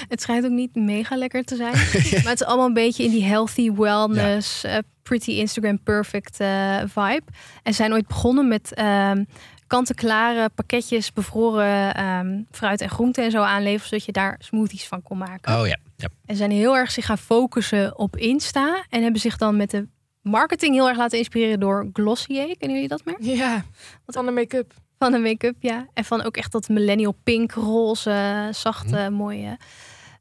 S3: Het schijnt ook niet mega lekker te zijn. maar het is allemaal een beetje in die healthy wellness, eh, pretty Instagram perfect eh, vibe. En ze zijn ooit begonnen met ehm, kant-en-klare pakketjes bevroren ehm, fruit en groente en zo aanleveren. Zodat je daar smoothies van kon maken.
S4: Oh ja. ja.
S3: En ze zijn heel erg zich gaan focussen op Insta. En hebben zich dan met de marketing heel erg laten inspireren door Glossier. Kennen jullie dat merk?
S5: ja. Wat aan de make-up.
S3: Van de make-up, ja. En van ook echt dat millennial pink, roze, zachte,
S5: Mhm.
S3: mooie.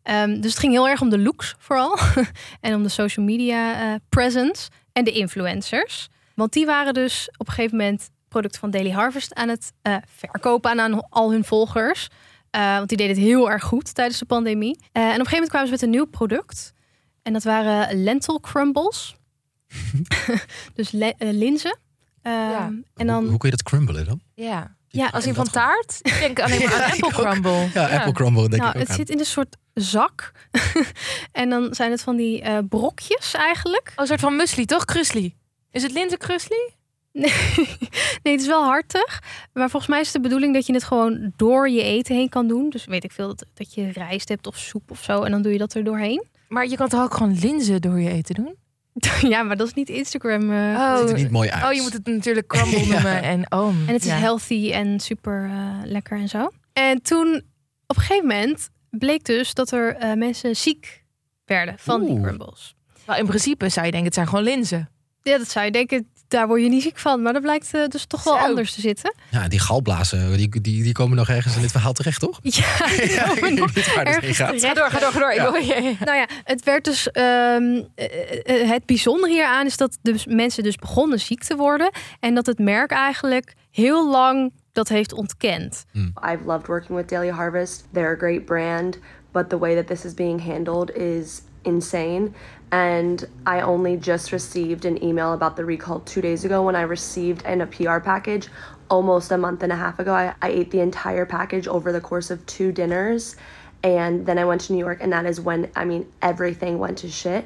S3: Ehm, dus het ging heel erg om de looks vooral. en om de social media eh, presence en de influencers. Want die waren dus op een gegeven moment producten van Daily Harvest aan het eh, verkopen aan, aan al hun volgers. Eh, want die deden het heel erg goed tijdens de pandemie. Eh, en op een gegeven moment kwamen ze met een nieuw product. En dat waren lentil crumbles. dus le- eh, linzen. Ehm,
S5: Ja.
S3: En
S4: Hoe-
S3: dan
S4: hoe, kun je dat crumblen dan?
S5: Ja.
S3: Ja,
S5: Als in
S4: Ik
S5: van
S4: vind dat
S5: taart, ik denk alleen maar aan
S4: Ja, ik
S5: apple
S4: ook.
S5: crumble. Oh,
S4: gewoon- Ja, apple crumble denk
S3: nou,
S4: ik ook
S3: het
S4: aan.
S3: zit in een soort zak. en dan zijn het van die eh, brokjes eigenlijk.
S5: Oh, een soort van muesli, toch? Krusli. Is het linten krusli?
S3: Nee, nee, het is wel hartig. Maar volgens mij is het de bedoeling dat je het gewoon door je eten heen kan doen. Dus weet ik veel, dat, dat je rijst hebt of soep of zo. En dan doe je dat er doorheen.
S5: Maar je kan toch ook gewoon linzen door je eten doen?
S3: ja, maar dat is niet Instagram. eh.
S5: Oh,
S4: ziet er niet mooi uit.
S5: oh je moet het natuurlijk crumble
S4: Ja.
S5: noemen. En, oh,
S3: En het is
S5: ja.
S3: healthy en super eh, lekker en zo. En toen, op een gegeven moment, bleek dus dat er eh, mensen ziek werden van die
S4: Oeh.
S3: crumbles.
S5: Nou, in principe zou je denken, het zijn gewoon linzen.
S3: Ja, dat zou je denken, daar word je niet ziek van. Maar dat blijkt eh, dus toch wel
S5: Zo.
S3: anders te zitten.
S4: Ja, die galblazen, die, die, die komen nog ergens in dit verhaal terecht, toch?
S3: Ja,
S4: Ja, ik
S3: komen
S4: weet
S3: nog
S4: niet waar dit heen
S3: ergens
S4: gaat.
S3: terecht.
S5: Ga door, ga door, ga door. Ik
S4: Ja.
S5: wil- ja, ja.
S3: Nou ja, het werd dus. ehm, eh, eh, het bijzondere hieraan is dat de mensen dus begonnen ziek te worden. En dat het merk eigenlijk heel lang dat heeft ontkend.
S4: Hm.
S1: I've loved working with Daily Harvest. They're a great brand, but the way that this is being handled is insane. And I only just received an email about the recall two days ago when I received in a PR package almost a month and a half ago. I, I ate the entire package over the course of two dinners. And then I went to New York, and that is when, I mean, everything went to shit.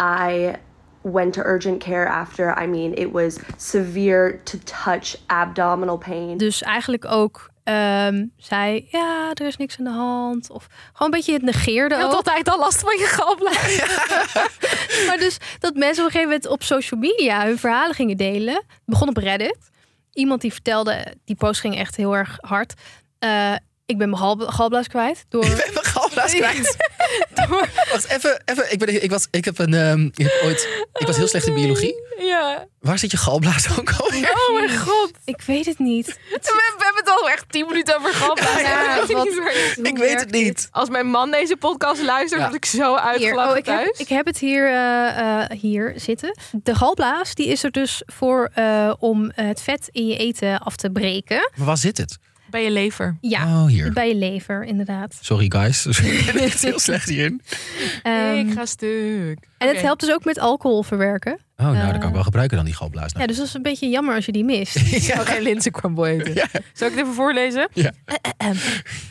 S1: I went to urgent care after. I mean, it was severe to touch abdominal pain.
S3: Dus eigenlijk ook ehm, zei, ja, er is niks aan de hand. Of gewoon een beetje het negeerde
S13: Je had
S3: altijd al last van je galblaas. maar dus dat mensen op een gegeven moment op social media hun verhalen gingen delen. Het begon op Reddit. Iemand die vertelde, die post ging echt heel erg hard. eh, ik ben mijn galb- galblaas kwijt. Door... Ik ben
S4: mijn galblaas kwijt? Wacht, even, even. Ik, ben, ik, was, ik heb een. ehm, ik heb ooit, ik was heel slecht in biologie.
S5: Ja.
S4: Waar zit je galblaas ook al?
S5: Oh mijn god.
S3: Ik weet het niet.
S13: We, we hebben het al echt 10 minuten over gehad.
S3: Ja, ja, wat-
S13: ik weet het
S4: niet.
S13: Als mijn man deze podcast luistert,
S3: Ja.
S13: word ik zo
S3: Hier,
S13: uitgelachen
S3: oh, ik,
S13: thuis.
S3: heb, ik heb het hier, eh, eh, hier zitten. De galblaas die is er dus voor eh, om het vet in je eten af te breken.
S4: Maar waar zit het?
S5: Bij je lever.
S3: Ja,
S4: Oh, hier.
S3: bij je lever inderdaad.
S4: Sorry, guys. ik ben echt heel slecht hierin.
S3: Ehm,
S5: ik ga stuk.
S3: En het helpt dus ook met alcohol verwerken.
S4: Oh, nou, dat kan ik wel gebruiken dan, die galblaas.
S3: Ja, dus dat is een beetje jammer als je die mist.
S5: Ik zou geen linzencrumble eten. Zal ik het even voorlezen?
S4: Ja.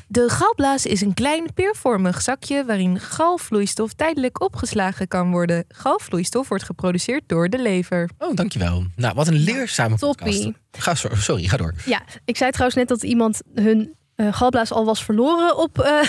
S5: De galblaas is een klein peervormig zakje waarin galvloeistof tijdelijk opgeslagen kan worden. Galvloeistof wordt geproduceerd door de lever.
S4: Oh, dankjewel. Nou, wat een leerzame
S3: toppie.
S4: podcast. Ga, zo- sorry, ga door.
S3: Ja, ik zei trouwens net dat iemand hun eh, galblaas al was verloren op eh,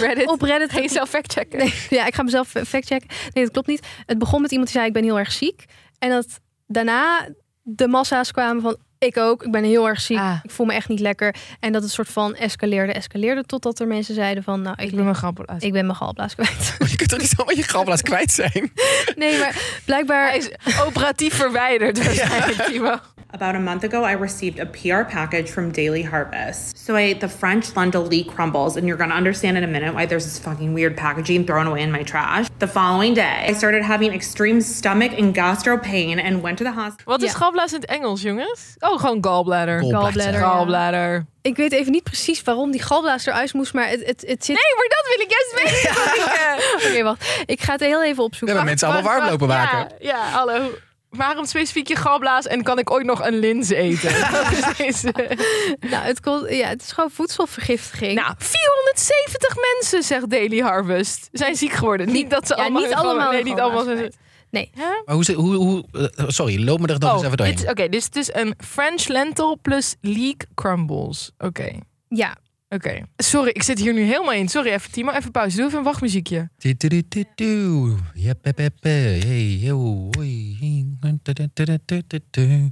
S13: Reddit.
S3: Op Reddit.
S13: Geen zelf factchecken.
S3: Nee, ja, ik ga mezelf eh, factchecken. Nee, dat klopt niet. Het begon met iemand die zei: Ik ben heel erg ziek. En dat daarna de massa's kwamen van: Ik ook, ik ben heel erg ziek.
S13: Ah.
S3: Ik voel me echt niet lekker. En dat het soort van escaleerde, escaleerde. Totdat er mensen zeiden: van, Nou, ik,
S5: Ik ben mijn galblaas.
S3: ik ben mijn galblaas kwijt.
S4: Je kunt toch niet zomaar je galblaas kwijt zijn?
S3: Nee, maar blijkbaar.
S13: Hij is operatief verwijderd waarschijnlijk, Timo.
S14: About a month ago, I received a PR package from Daily Harvest. So I ate the French Lundali crumbles, and you're gonna understand in a minute why there's this fucking weird packaging thrown away in my trash. The following day, I started having extreme stomach and gastro pain and went to the hospital.
S5: Wat is galblaas in het Engels, jongens? Oh, gewoon gallbladder.
S14: Gallbladder.
S3: Gallbladder, ja.
S5: Gallbladder.
S3: Ik weet even niet precies waarom die galblaas eruit moest, maar het, het, het zit.
S13: Nee, maar dat wil ik juist weten. Marieke.
S3: Oké, wacht. Ik ga het heel even opzoeken.
S4: Ja, maar mensen allemaal warm lopen maken.
S13: Ja, ja, hallo.
S5: Waarom specifiek je galblaas en kan ik ooit nog een lins eten? Dat is eh, deze.
S3: Nou, het, kon, ja, het is gewoon voedselvergiftiging.
S5: Nou, 470 mensen, zegt Daily Harvest, zijn ziek geworden. Niet dat ze
S3: Ja,
S5: allemaal...
S3: niet
S5: hun gal-
S3: allemaal
S5: Nee,
S3: hun
S5: niet
S3: galblaas
S5: allemaal. zijn-
S3: Nee.
S4: Maar hoe, zit- hoe, hoe, eh, sorry, loop me er dan eens even
S5: dit
S4: doorheen.
S5: is- Oké, dus het is een French lentil plus leek crumbles. Oké,
S3: Ja.
S5: oké. Sorry, ik zit hier nu helemaal in. Sorry, even Timo, even pauze. Doe even een wachtmuziekje.
S4: Tudu-tudu-tudu. Jep, jep, jep, eh. Hey, yo, hoi, hing, tudu-tudu-tudu.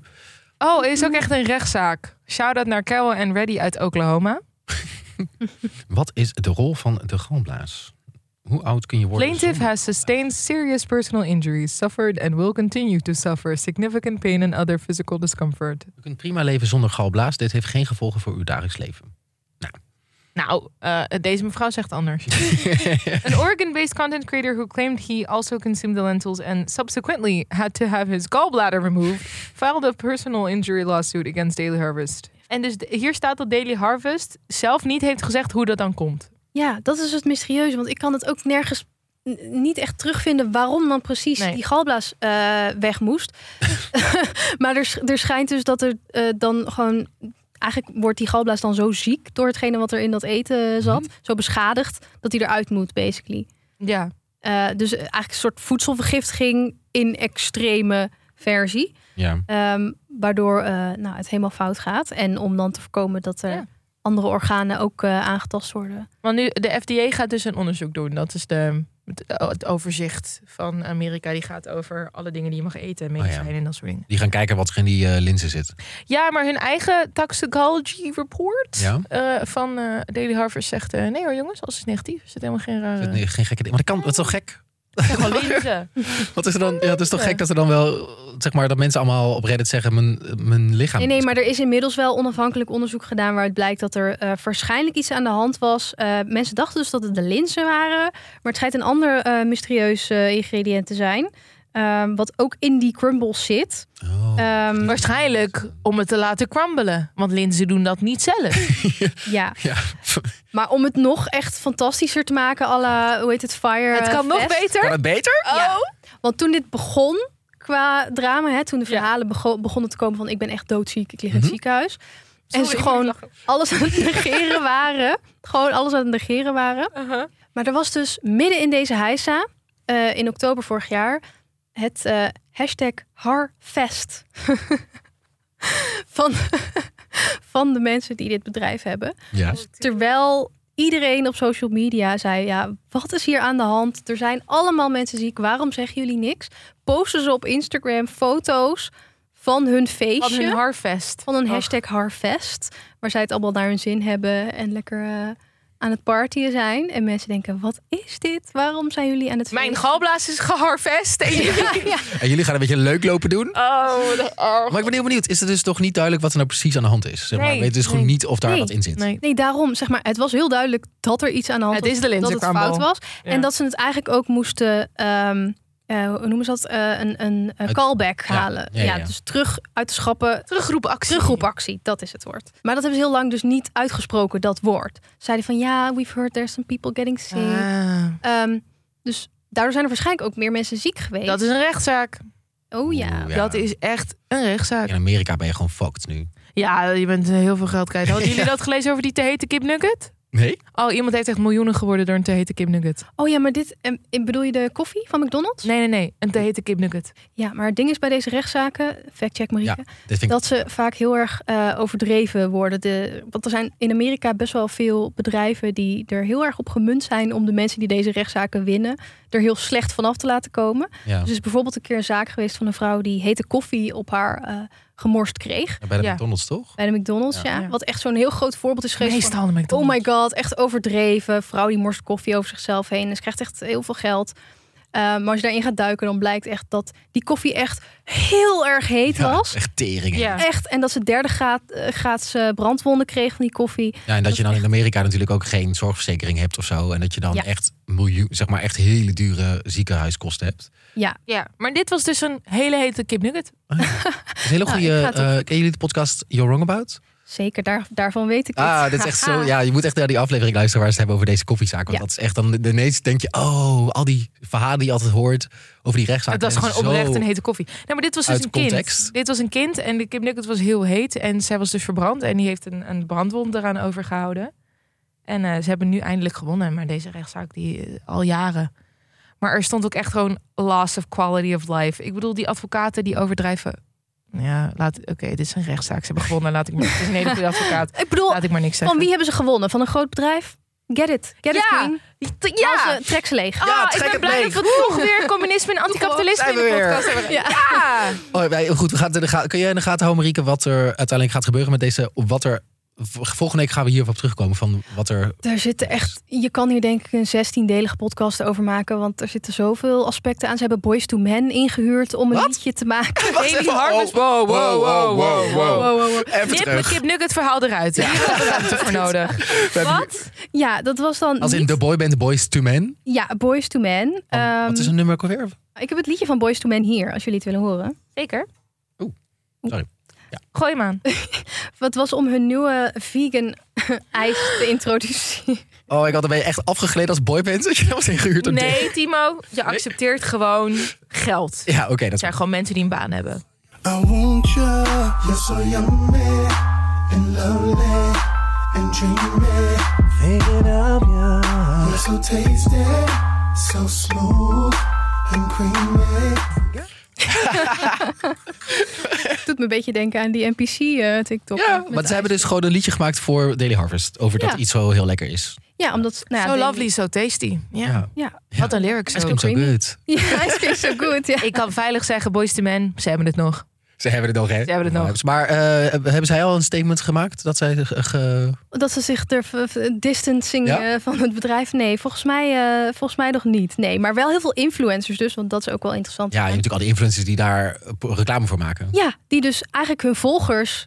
S5: Oh, er
S3: Mm.
S5: is ook echt een rechtszaak. Shout-out naar Carol en Reddy uit Oklahoma.
S4: Wat is de rol van de galblaas? Hoe oud kun je worden?
S5: Plaintiff has sustained serious personal injuries, suffered and will continue to suffer significant pain and other physical discomfort.
S4: U kunt prima leven zonder galblaas. Dit heeft geen gevolgen voor uw dagelijks leven.
S5: Nou, eh, deze mevrouw zegt anders. An Oregon-based content creator who claimed he also consumed the lentils and subsequently had to have his gallbladder removed, filed a personal injury lawsuit against Daily Harvest. En dus de- hier staat dat Daily Harvest zelf niet heeft gezegd hoe dat dan komt.
S3: Ja, dat is het mysterieuze. Want ik kan het ook nergens n- niet echt terugvinden waarom dan precies die galblaas eh, weg moest. maar er, sch- er schijnt dus dat er eh, dan gewoon... Eigenlijk wordt die galblaas dan zo ziek door hetgene wat er in dat eten eh, zat.
S5: Mhm.
S3: Zo beschadigd dat hij eruit moet, basically.
S5: Ja.
S3: Eh, dus eigenlijk een soort voedselvergiftiging in extreme versie.
S4: Ja.
S3: Ehm, waardoor eh, nou, het helemaal fout gaat. En om dan te voorkomen dat er andere organen ook eh, aangetast worden.
S5: Want nu, de FDA gaat dus een onderzoek doen. Dat is de, het, eh, het overzicht van Amerika. Die gaat over alle dingen die je mag eten, medicijnen en dat soort dingen.
S4: Die gaan kijken wat er in die eh, linzen zit.
S5: Ja, maar hun eigen toxicology report
S4: Ja.
S5: eh, van eh, Daily Harvest zegt... eh, nee hoor jongens, als het negatief is, zit helemaal geen
S3: Eh.
S5: rare...
S4: Nee, geen gekke dingen. Maar dat kan, dat is toch gek?
S5: Gewoon linzen.
S4: Wat is er dan? Ja, het is toch gek dat er dan wel, zeg maar, dat mensen allemaal op Reddit zeggen: mijn, mijn lichaam.
S3: Nee, nee, maar er is inmiddels wel onafhankelijk onderzoek gedaan waaruit blijkt dat er eh, waarschijnlijk iets aan de hand was. Eh, mensen dachten dus dat het de linzen waren, maar het schijnt een ander eh, mysterieus eh, ingrediënt te zijn. ehm, wat ook in die crumbles zit.
S4: Oh.
S3: Ehm,
S5: Waarschijnlijk om het te laten crumbelen. Want linzen doen dat niet zelf.
S3: ja. Maar om het nog echt fantastischer te maken, à la, hoe heet het, Fire
S5: Het kan
S3: eh,
S5: nog
S3: Fest.
S5: beter? Kan het
S4: beter?
S3: Ja. Want toen dit begon qua drama, hè, toen de verhalen bego- begonnen te komen van ik ben echt doodziek, ik lig in het ziekenhuis. en ze gewoon alles aan het negeren waren. Gewoon alles aan het negeren waren. Maar er was dus midden in deze heisa, eh, in oktober vorig jaar, het eh, hashtag Harfest. van, van de mensen die dit bedrijf hebben.
S4: Ja.
S3: Terwijl iedereen op social media zei: ja, wat is hier aan de hand? Er zijn allemaal mensen ziek. Waarom zeggen jullie niks? Posten ze op Instagram foto's van hun feestje.
S5: Van hun harvest.
S3: Van een
S5: Och.
S3: hashtag harvest. Waar zij het allemaal naar hun zin hebben en lekker eh, aan het partyen zijn. En mensen denken: wat is dit? Waarom zijn jullie aan het Mijn
S5: galblaas is geharvest.
S4: En jullie gaan een beetje leuk lopen doen.
S5: Oh, de arm.
S4: Maar ik ben heel benieuwd, is het dus toch niet duidelijk wat er nou precies aan de hand is? Zeg maar.
S3: Nee,
S4: Weet dus gewoon
S3: nee.
S4: niet of daar
S3: Nee,
S4: wat in zit.
S3: Nee. daarom zeg maar. Het was heel duidelijk dat er iets aan de hand
S5: Het
S3: was.
S5: is de
S3: dat
S5: Lindsay
S3: het
S5: Crumble.
S3: fout was.
S5: Ja.
S3: En dat ze het eigenlijk ook moesten. ehm, eh, hoe noemen ze dat? Eh, een een eh,
S5: Het-
S3: callback
S5: ja,
S3: halen.
S5: ja,
S3: Ja,
S5: ja.
S3: dus terug uit de schappen.
S5: Terugroepactie.
S3: Terugroepactie, dat is het woord. Maar dat hebben ze heel lang dus niet uitgesproken, dat woord. Zeiden van ja, we've heard there's some people getting sick.
S5: Ah. Eh,
S3: Ehm, dus daardoor zijn er waarschijnlijk ook meer mensen ziek geweest.
S5: Dat is een rechtszaak.
S3: Oh ja.
S4: ja. Dat
S5: is echt een rechtszaak.
S4: In Amerika ben je gewoon fucked nu.
S5: Ja, je bent eh, heel veel geld kwijt. Hadden jullie
S4: Ja.
S5: dat gelezen over die te hete kipnugget?
S4: Nee?
S5: Oh, iemand heeft echt miljoenen geworden door een te hete kipnugget.
S3: Oh ja, maar dit, em, em, bedoel je de koffie van McDonald's?
S5: Nee, nee, nee. Een te hete kipnugget.
S3: Ja, maar het ding is bij deze rechtszaken, factcheck Marieke,
S4: vind ik-
S3: dat ze vaak heel erg eh, overdreven worden. De, want er zijn in Amerika best wel veel bedrijven die er heel erg op gemunt zijn om de mensen die deze rechtszaken winnen, er heel slecht vanaf te laten komen.
S4: Ja.
S3: Dus er is bijvoorbeeld een keer een zaak geweest van een vrouw die hete koffie op haar eh, gemorst kreeg.
S4: Ja, bij de McDonald's toch?
S3: Bij de McDonald's,
S4: Ja.
S3: ja.
S4: Ja.
S3: Wat echt zo'n heel groot voorbeeld is geweest.
S5: Meestal
S3: van,
S5: de McDonald's.
S3: Oh my god, echt overdreven. Vrouw die morst koffie over zichzelf heen. En ze krijgt echt heel veel geld. Eh, maar als je daarin gaat duiken, dan blijkt echt dat die koffie echt heel erg heet was.
S4: Echt teringen.
S5: Eh.
S3: Echt. En dat ze derde graad, eh, graads eh, brandwonden kreeg van die koffie.
S4: Ja, en dat, je dan in Amerika natuurlijk ook geen zorgverzekering hebt of zo. En dat je dan
S3: Ja.
S4: echt miljoen, zeg maar echt hele dure ziekenhuiskosten hebt.
S3: Ja.
S5: ja, maar dit was dus een hele hete kipnugget.
S4: Ah, Dat is een hele
S3: Nou,
S4: goede.
S3: ik ga het
S4: eh, kennen jullie de podcast You're Wrong About?
S3: Zeker, daar, daarvan weet ik het.
S4: Ah, dit is echt zo. Ja, je moet echt naar die aflevering luisteren waar ze het hebben over deze koffiezaak. Want
S3: Ja.
S4: dat is echt dan de- ineens denk je, oh, al die verhalen die je altijd hoort over die rechtszaak.
S5: Het was gewoon oprecht een hete koffie. Nee, maar dit was dus
S4: Uit
S5: een
S4: context.
S5: kind. Dit was een kind en de kipnugget was heel heet. En zij was dus verbrand en die heeft een, een brandwond eraan overgehouden. En eh, ze hebben nu eindelijk gewonnen. Maar deze rechtszaak die eh, al jaren. Maar er stond ook echt gewoon loss of quality of life. Ik bedoel, die advocaten die overdrijven. Ja, laat. Oké, dit is een rechtszaak. Ze hebben gewonnen. Laat ik maar. Het is een hele goede advocaat.
S3: Ik bedoel,
S5: laat ik maar niks zeggen.
S3: Van wie hebben ze gewonnen? Van een groot bedrijf? Get it. Get it, queen.
S5: ja.
S3: Als, eh, trek ze leeg.
S5: Ah, ik ben blij dat we toch weer communisme en anticapitalisme
S4: Zijn
S5: in
S4: we
S5: de
S4: weer.
S5: podcast hebben.
S3: Ja.
S4: Oh, wij, goed, we gaan het in de ga- kun jij in de gaten houden, Marieke, wat er uiteindelijk gaat gebeuren met deze. Wat er, volgende week gaan we hierop terugkomen van wat er.
S3: Daar zitten echt, je kan hier denk ik een 16-delige podcast over maken, want er zitten zoveel aspecten aan. Ze hebben Boys to Men ingehuurd om een liedje te maken.
S5: Haley Harvest. Oh, Wow, wow,
S4: Oh,
S5: wow, wow, wow.
S4: Even
S5: Nip
S4: terug.
S5: mijn kipnugget verhaal eruit. Hier hebben we ruimte voor nodig. Wat?
S3: Ja, dat was dan
S4: Als in
S3: niet-
S4: The Boy Band Boys to Men.
S3: Ja, Boys to Men. Ehm,
S5: Mm.
S4: Wat is een nummer ook alweer?
S3: Ik heb het liedje van Boys to Men hier, als jullie het willen horen.
S5: Zeker.
S4: Sorry.
S5: Gooi hem aan.
S3: Wat was om hun nieuwe vegan ijs te introduceren.
S4: Oh, ik had er ben je echt afgegleden als boyband. Dat je was ingehuurd door
S5: Nee, Timo, je accepteert gewoon geld.
S4: Ja, oké. dat
S5: Het zijn gewoon mensen die een baan hebben.
S10: I want you. Oh, You're so yummy and lovely and dreamy. Thinking of you. You're so tasty, so smooth and creamy.
S3: Doet me een beetje denken aan die NPC-TikTok.
S4: Maar ze hebben dus gewoon een liedje gemaakt voor Daily Harvest. Over
S3: Ja.
S4: dat iets zo heel lekker is.
S3: Ja, omdat... Nou, ja,
S5: so
S3: die-
S5: lovely, so tasty. Ja.
S4: Ja. Oh,
S3: Ja.
S5: Wat een lyric
S4: Ice cream so good.
S3: Ja, ice cream so good. Ja.
S5: Ik kan veilig zeggen, boys to men, ze hebben het nog.
S4: Ze hebben het nog, hè?
S5: Ze hebben het nog.
S4: Maar eh, hebben zij al een statement gemaakt dat zij... eh, ge- ge-
S3: Dat ze zich er v- v- distancing
S4: Ja?
S3: eh, van het bedrijf. Nee, volgens mij, eh, volgens mij nog niet. Nee, maar wel heel veel influencers dus, want dat is ook wel interessant.
S4: Ja, en natuurlijk al die influencers die daar eh, reclame voor maken.
S3: Ja, die dus eigenlijk hun volgers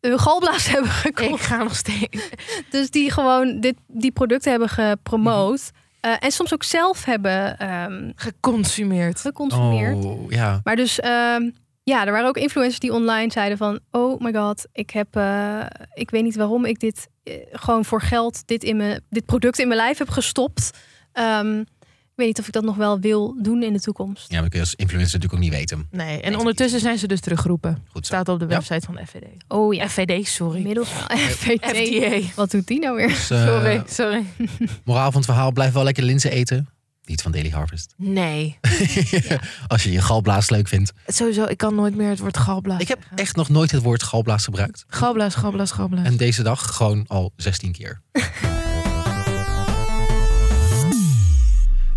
S3: hun galblaas hebben gekocht.
S5: Ik ga nog steeds.
S3: Dus die gewoon dit, die producten hebben gepromoot.
S4: Mhm.
S3: Eh, en soms ook zelf hebben ehm,
S5: Geconsumeerd.
S3: geconsumeerd.
S4: Oh, ja.
S3: Maar dus, ehm, ja, er waren ook influencers die online zeiden van... oh my god, ik heb, eh, ik weet niet waarom ik dit eh, gewoon voor geld... dit, in mijn, dit product in mijn lijf heb gestopt. Ehm, weet niet of ik dat nog wel wil doen in de toekomst.
S4: Ja, maar dat kun je als influencer natuurlijk ook niet weten.
S5: Nee, en ondertussen zijn ze dus teruggeroepen.
S4: Goed zo.
S5: Staat op de website van de FVD.
S3: Oh ja.
S5: FVD, sorry.
S3: Middels FVD.
S5: FDA.
S3: Wat doet die nou weer?
S4: Dus, eh,
S5: Sorry, sorry.
S4: Moraal van het verhaal, blijf wel lekker linzen eten. Niet van Daily Harvest.
S5: Nee.
S4: Als je je galblaas leuk vindt.
S5: Sowieso, ik kan nooit meer het woord galblaas. Ik heb
S4: Echt nog nooit het woord galblaas gebruikt.
S5: galblaas, galblaas, galblaas.
S4: En deze dag gewoon al 16 keer.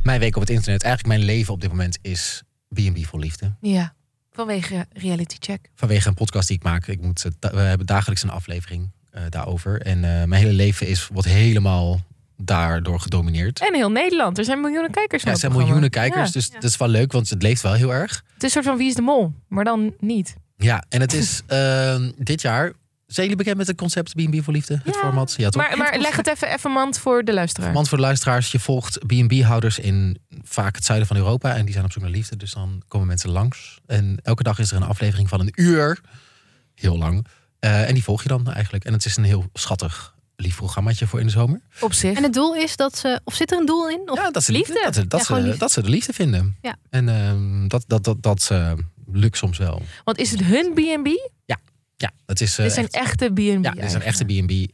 S4: mijn week op het internet, eigenlijk mijn leven op dit moment is B&B voor liefde.
S5: Ja, vanwege reality check.
S4: Vanwege een podcast die ik maak. Ik moet, eh, da- we hebben dagelijks een aflevering eh, daarover. En eh, mijn hele leven is, wordt helemaal daardoor gedomineerd.
S5: En heel Nederland. Er zijn miljoenen kijkers.
S4: Ja,
S5: naar
S4: het zijn
S5: het programma.
S4: miljoenen kijkers,
S5: Ja.
S4: dus dat is wel leuk, want het leeft wel heel erg.
S5: Het is een soort van Wie is de Mol, maar dan niet.
S4: Ja, en het is ehm, dit jaar... Zijn jullie bekend met het concept B&B voor liefde? Het format? Ja, toch?
S5: Maar, maar leg het even, even mand voor de luisteraar.
S4: Want voor de luisteraars, je volgt B&B-houders in vaak het zuiden van Europa. En die zijn op zoek naar liefde, dus dan komen mensen langs. En elke dag is er een aflevering van een uur. Heel lang. Eh, en die volg je dan eigenlijk. En het is een heel schattig, lief programmaatje voor in de zomer.
S5: Op zich.
S3: En het doel is dat ze... Of zit er een doel in? Of
S4: Ja, dat ze, Dat, ze, dat,
S3: Ja,
S4: ze,
S3: gewoon liefde.
S4: dat ze de liefde vinden.
S3: Ja.
S4: En ehm, dat, dat, dat, dat eh, lukt soms wel.
S5: Want is het hun B&B?
S4: Ja, het is, eh,
S5: Dit zijn
S4: echt-
S5: echte B&B.
S4: ja, dit zijn echte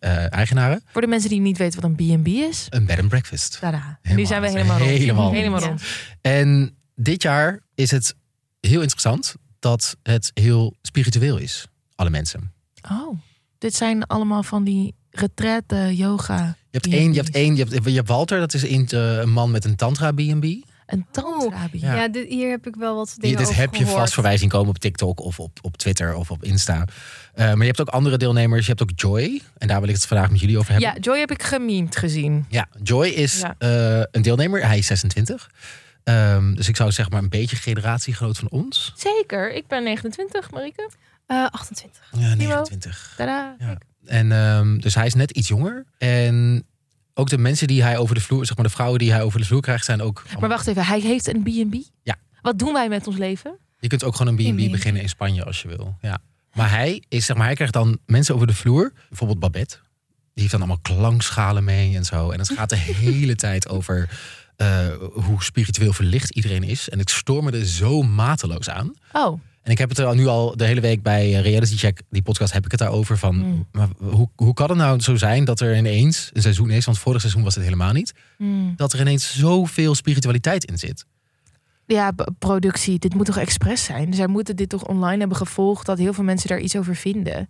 S4: B&B-eigenaren.
S5: Voor de mensen die niet weten wat een B&B is.
S4: eh, een bed and breakfast.
S5: Tada.
S4: Helemaal,
S5: nu zijn we helemaal rond.
S4: helemaal rond.
S5: rond.
S4: En dit jaar is het heel interessant dat het heel spiritueel is. Alle mensen.
S5: Oh, dit zijn allemaal van die retraite, yoga.
S4: Je hebt één, je hebt één, je hebt, je hebt Walter, dat is een, eh, een man met een tantra B&B.
S5: Een tantra
S4: Oh.
S3: Ja, dit- hier heb ik wel wat
S4: Die-
S3: dingen
S4: Dit
S3: over
S4: heb je
S3: gehoord.
S4: vast voor wij zien komen op TikTok of op, op Twitter of op Insta. Eh, maar je hebt ook andere deelnemers. Je hebt ook Joy. En daar wil ik het vandaag met jullie over hebben.
S5: Ja, Joy heb ik gememd gezien.
S4: Ja, Joy is
S5: Ja.
S4: eh, een deelnemer. Hij is 26. Ehm, dus ik zou zeg maar een beetje generatie groot van ons.
S5: Zeker, ik ben 29, Marike.
S3: Eh, 28.
S4: Ja,
S5: Timo.
S4: 29.
S5: Tada.
S4: En ehm, dus hij is net iets jonger. En ook de mensen die hij over de vloer, zeg maar de vrouwen die hij over de vloer krijgt, zijn ook.
S5: Maar wacht even, hij heeft een B&B?
S4: Ja.
S5: Wat doen wij met ons leven?
S4: Je kunt ook gewoon een B&B beginnen in Spanje als je wil. Ja. Maar hij is, zeg maar, hij krijgt dan mensen over de vloer. Bijvoorbeeld Babette. Die heeft dan allemaal klankschalen mee en zo. En het gaat de hele tijd over eh, hoe spiritueel verlicht iedereen is. En ik stoor me er zo mateloos aan.
S5: Oh,
S4: En ik heb het er al nu al de hele week bij eh, Reality Check, die podcast, heb ik het daarover. Van,
S3: Mm.
S4: maar hoe, hoe kan het nou zo zijn dat er ineens een seizoen is, want vorig seizoen was het helemaal niet,
S3: Mm.
S4: dat er ineens zoveel spiritualiteit in zit?
S5: ja, b- productie. Dit moet toch expres zijn? Zij moeten dit toch online hebben gevolgd... dat heel veel mensen daar iets over vinden.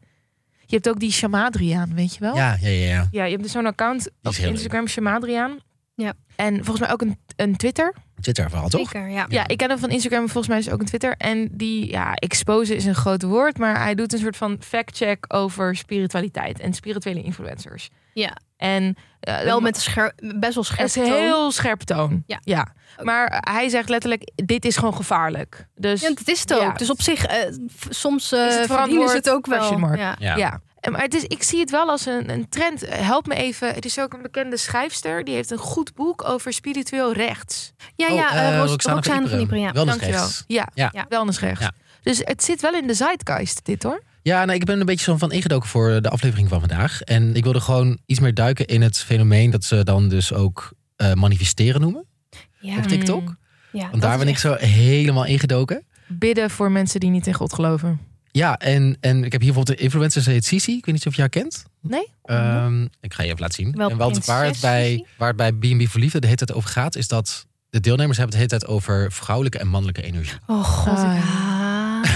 S5: Je hebt ook die Shamadriaan, weet
S3: Oh.
S5: je wel?
S4: Ja, ja, ja. ja.
S5: Ja, je hebt dus zo'n account op
S4: heel leuk.
S5: Instagram, Shamadriaan.
S3: Ja.
S5: En volgens mij ook een, een Twitter.
S4: Twitter verhaal toch?
S3: Zeker, ja.
S5: Ja, ik ken hem van Instagram, maar volgens mij is ook een Twitter. En die, ja, expose is een groot woord, maar hij doet een soort van fact-check over spiritualiteit en spirituele influencers.
S3: Ja,
S5: En eh,
S3: wel met een scher- best wel scherp
S5: het is een heel scherp toon.
S3: Ja.
S5: Maar hij zegt letterlijk: dit is gewoon gevaarlijk. Dus
S3: Ja, dat is het ook.
S5: Ja.
S3: Dus op zich, eh, f- soms eh
S5: Is het
S3: verdienen
S5: verantwoord?
S3: ze het ook wel.
S5: Question mark.
S3: Ja.
S4: Ja.
S5: Ja. En Maar het is, ik zie het wel als een, een trend. Eh, Help me even. Het is ook een bekende schrijfster. Die heeft een goed boek over spiritueel rechts.
S3: Ja,
S4: Oh,
S3: ja,
S4: eh,
S3: eh, Rox-
S4: Roxane van
S3: Roxane van
S4: Ieperen.
S3: Ieperen, ja.
S4: Wel- Wellness
S5: Dankjewel.
S4: rechts.
S5: Ja,
S4: Ja.
S5: ja, wellnessrechts.
S4: Ja.
S5: Dus het zit wel in de zeitgeist, dit hoor.
S4: Ja, nou, ik ben er een beetje zo van ingedoken voor de aflevering van vandaag. En ik wilde gewoon iets meer duiken in het fenomeen dat ze dan dus ook eh, manifesteren noemen
S3: Ja.
S4: op TikTok.
S3: Ja, dat
S4: Want daar
S3: is
S4: ben ik
S3: echt-
S4: zo helemaal ingedoken.
S5: Bidden voor mensen die niet in God geloven.
S4: Ja, en, en ik heb hier bijvoorbeeld een influencer, ze heet Sisi. Ik weet niet of je haar kent.
S5: Nee?
S4: Ehm, ik ga je even laten zien.
S3: Mhm. Wel
S4: en want waar het
S3: prinses,
S4: bij,
S3: Sissi?
S4: waar het bij B&B voor Liefde de hele tijd over gaat... is dat de deelnemers hebben het de hele tijd over vrouwelijke en mannelijke energie.
S3: Oh god,
S5: Ah.
S3: ik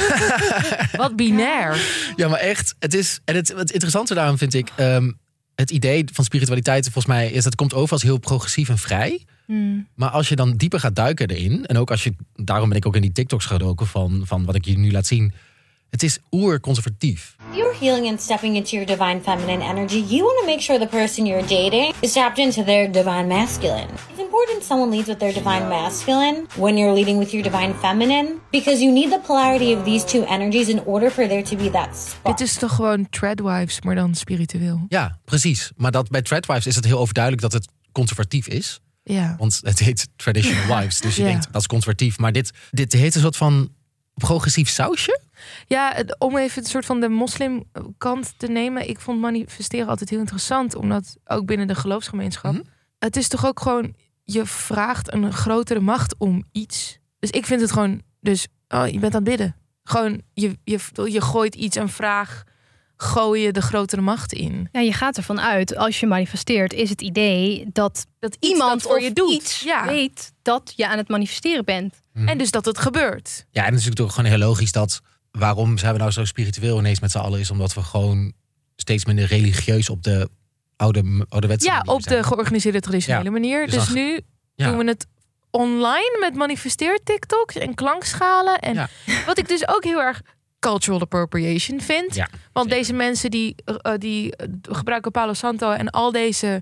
S5: Wat binair.
S4: Ja, maar echt. Het is, en het, het interessante daarom vind ik... ehm, het idee van spiritualiteit volgens mij is dat komt over als heel progressief en vrij.
S3: Hmm.
S4: Maar als je dan dieper gaat duiken erin... en ook als je... Daarom ben ik ook in die TikToks gedoken van, van wat ik je nu laat zien. Het is oer-conservatief.
S15: If You're healing and stepping into your divine feminine energy. You want to make sure the person you're dating is tapped into their divine masculine. It's important someone leads with their divine masculine when you're leading with your divine feminine because you need the polarity of these two energies in order for there to be that spark.
S5: Dit is toch gewoon Treadwives, maar dan spiritueel.
S4: Ja, precies. Maar dat, bij Threadwives is het heel overduidelijk dat het conservatief is.
S5: Ja.
S4: Want het heet Traditional Wives. Dus je
S5: Ja.
S4: denkt, dat is conservatief. Maar dit, dit heet een soort van progressief sausje.
S5: Ja, het- om even een soort van de moslimkant te nemen. Ik vond manifesteren altijd heel interessant, omdat ook binnen de geloofsgemeenschap. Het is toch ook gewoon je vraagt een grotere macht om iets. Dus ik vind het gewoon, dus oh, je bent aan het bidden. Gewoon, je, je, je gooit iets, een vraag, gooi je de grotere macht in.
S3: Ja, je gaat ervan uit, als je manifesteert, is het idee dat, dat iemand
S5: dat voor
S3: of
S5: je doet.
S3: iets
S5: Ja.
S3: weet dat je aan het manifesteren bent.
S4: Hm.
S5: En dus dat het gebeurt.
S4: Ja, en het is natuurlijk ook gewoon heel logisch dat waarom zijn we nou zo spiritueel ineens met z'n allen is omdat we gewoon steeds minder religieus op de oude, ouderwetse
S5: Ja,
S4: manier
S5: op
S4: zijn.
S5: de georganiseerde traditionele
S4: Ja,
S5: manier.
S4: dus
S5: Dus,
S4: dan-
S5: nu
S4: ja.
S5: doen we het online met manifesteer TikToks en klankschalen. En wat ik dus ook heel erg cultural appropriation vind.
S4: Ja,
S5: Want deze mensen die, eh, die eh, gebruiken Palo Santo en al deze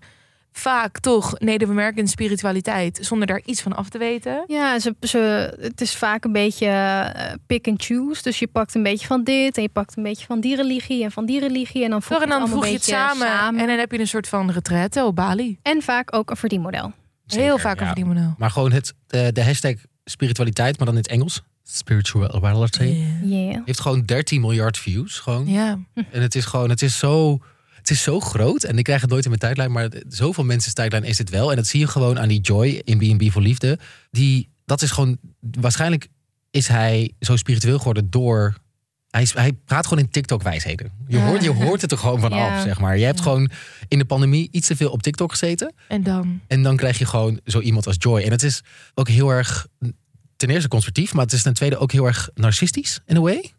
S5: vaak toch Native American spiritualiteit zonder daar iets van af te weten.
S3: Ja, ze, ze, het is vaak een beetje eh, pick and choose. Dus je pakt een beetje van dit en je pakt een beetje van die religie en van die religie. En dan voeg
S5: Toch,
S3: je
S5: en
S3: het,
S5: dan
S3: allemaal
S5: voeg je
S3: een
S5: het
S3: beetje
S5: samen, en dan heb je een soort van retraite op Bali.
S3: En vaak ook een verdienmodel.
S4: Zeker,
S5: heel vaak een
S4: ja.
S5: verdienmodel.
S4: Maar gewoon het, de, de hashtag spiritualiteit, maar dan in het Engels. Spirituality.
S3: Yeah.
S4: Heeft gewoon 13 miljard views. Gewoon.
S5: Ja.
S4: En het is gewoon, het is zo. Het is zo groot en ik krijg het nooit in mijn tijdlijn, maar zoveel mensen's tijdlijn is het wel. En dat zie je gewoon aan die Joy in B&B voor Liefde. Die, dat is gewoon, waarschijnlijk is hij zo spiritueel geworden door, hij, is- hij praat gewoon in TikTok wijsheden. Je hoort, je hoort het er gewoon vanaf,
S5: Ja.
S4: zeg maar. Je hebt gewoon in de pandemie iets te veel op TikTok gezeten.
S5: En dan.
S4: En dan krijg je gewoon zo iemand als Joy. En het is ook heel erg, ten eerste conservatief, maar het is ten tweede ook heel erg narcistisch in a way.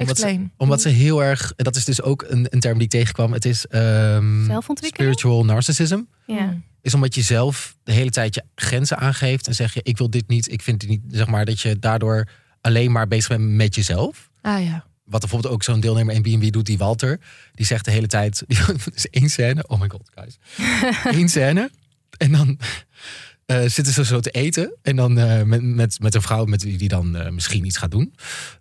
S4: Omdat ze,
S5: Explain.
S4: omdat ze heel erg, en dat is dus ook een, een term die ik tegenkwam, het is ehm,
S3: Zelfontwikkeling?
S4: spiritual narcissism.
S3: Ja.
S4: Is omdat je zelf de hele tijd je grenzen aangeeft en zeg je: Ik wil dit niet, ik vind dit niet, zeg maar dat je daardoor alleen maar bezig bent met jezelf.
S5: Ah ja.
S4: Wat bijvoorbeeld ook zo'n deelnemer in B&B doet, die Walter. Die zegt de hele tijd, die is één scène. Oh my god, guys. Eén scène. En dan eh, zitten ze zo te eten. En dan eh, met, met, met een vrouw met wie die dan eh, misschien iets gaat doen.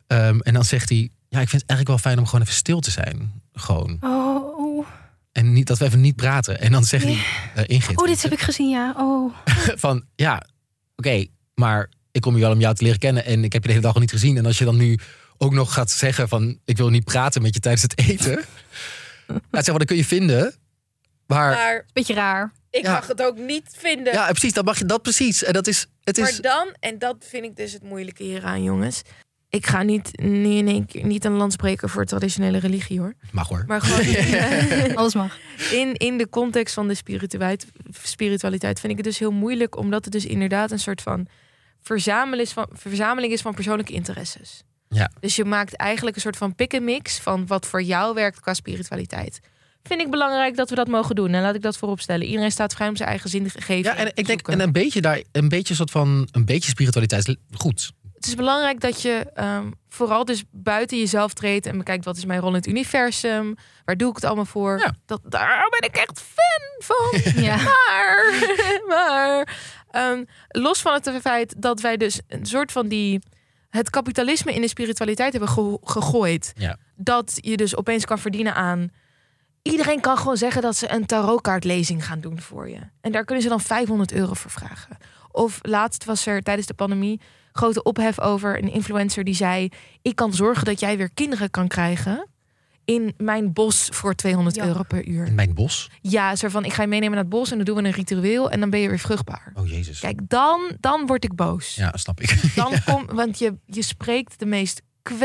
S4: Ehm, en dan zegt hij, ja, ik vind het eigenlijk wel fijn om gewoon even stil te zijn. Gewoon.
S3: Oh, oh.
S4: En niet, dat we even niet praten. En dan zegt hij, eh, Ingrid,
S3: oh, dit heb ik gezien, ja. Oh.
S4: van ja, oké, maar ik kom hier wel om jou te leren kennen en ik heb je de hele dag al niet gezien. En als je dan nu ook nog gaat zeggen van ik wil niet praten met je tijdens het eten, ja, zeg maar, dan kun je vinden. Maar, eh,
S3: Beetje raar.
S5: ik
S4: Ja. mag
S5: het ook niet vinden.
S4: ja, precies, dat mag je dat precies. En dat is, het is,
S5: Maar dan, en dat vind ik dus het moeilijke hieraan, jongens. Ik ga niet, niet in één keer niet een land spreken voor traditionele religie hoor.
S4: mag hoor.
S5: Maar gewoon
S3: Alles mag.
S5: in, in de context van de spiritualiteit, spiritualiteit vind ik het dus heel moeilijk, omdat het dus inderdaad een soort van verzamel is van, verzameling is van persoonlijke interesses.
S4: Ja.
S5: Dus je maakt eigenlijk een soort van pick-and-mix van wat voor jou werkt qua spiritualiteit. Vind ik belangrijk dat we dat mogen doen. En laat ik dat voorop stellen. Iedereen staat vrij om zijn eigen zin te geven.
S4: Ja, en ik denk
S5: zoeken.
S4: en een beetje daar, een beetje soort van, een beetje spiritualiteit is goed.
S5: het is belangrijk dat je ehm, vooral dus buiten jezelf treedt en bekijkt wat is mijn rol in het universum, waar doe ik het allemaal voor.
S4: Ja.
S5: Dat, daar ben ik echt fan van.
S3: Ja.
S5: Maar, maar ehm, los van het feit dat wij dus een soort van die het kapitalisme in de spiritualiteit hebben ge- gegooid,
S4: Ja.
S5: dat je dus opeens kan verdienen aan. Iedereen kan gewoon zeggen dat ze een tarotkaartlezing gaan doen voor je. En daar kunnen ze dan 500 euro voor vragen. Of laatst was er tijdens de pandemie grote ophef over een influencer die zei: Ik kan zorgen dat jij weer kinderen kan krijgen in mijn bos voor 200
S3: Ja.
S5: euro per uur.
S4: In mijn bos.
S5: Ja, zo van: Ik ga je meenemen naar het bos en dan doen we een ritueel en dan ben je weer vruchtbaar.
S4: Oh jezus.
S5: Kijk, dan, dan word ik boos.
S4: Ja, snap ik.
S5: Dan kom, want je, je spreekt de meest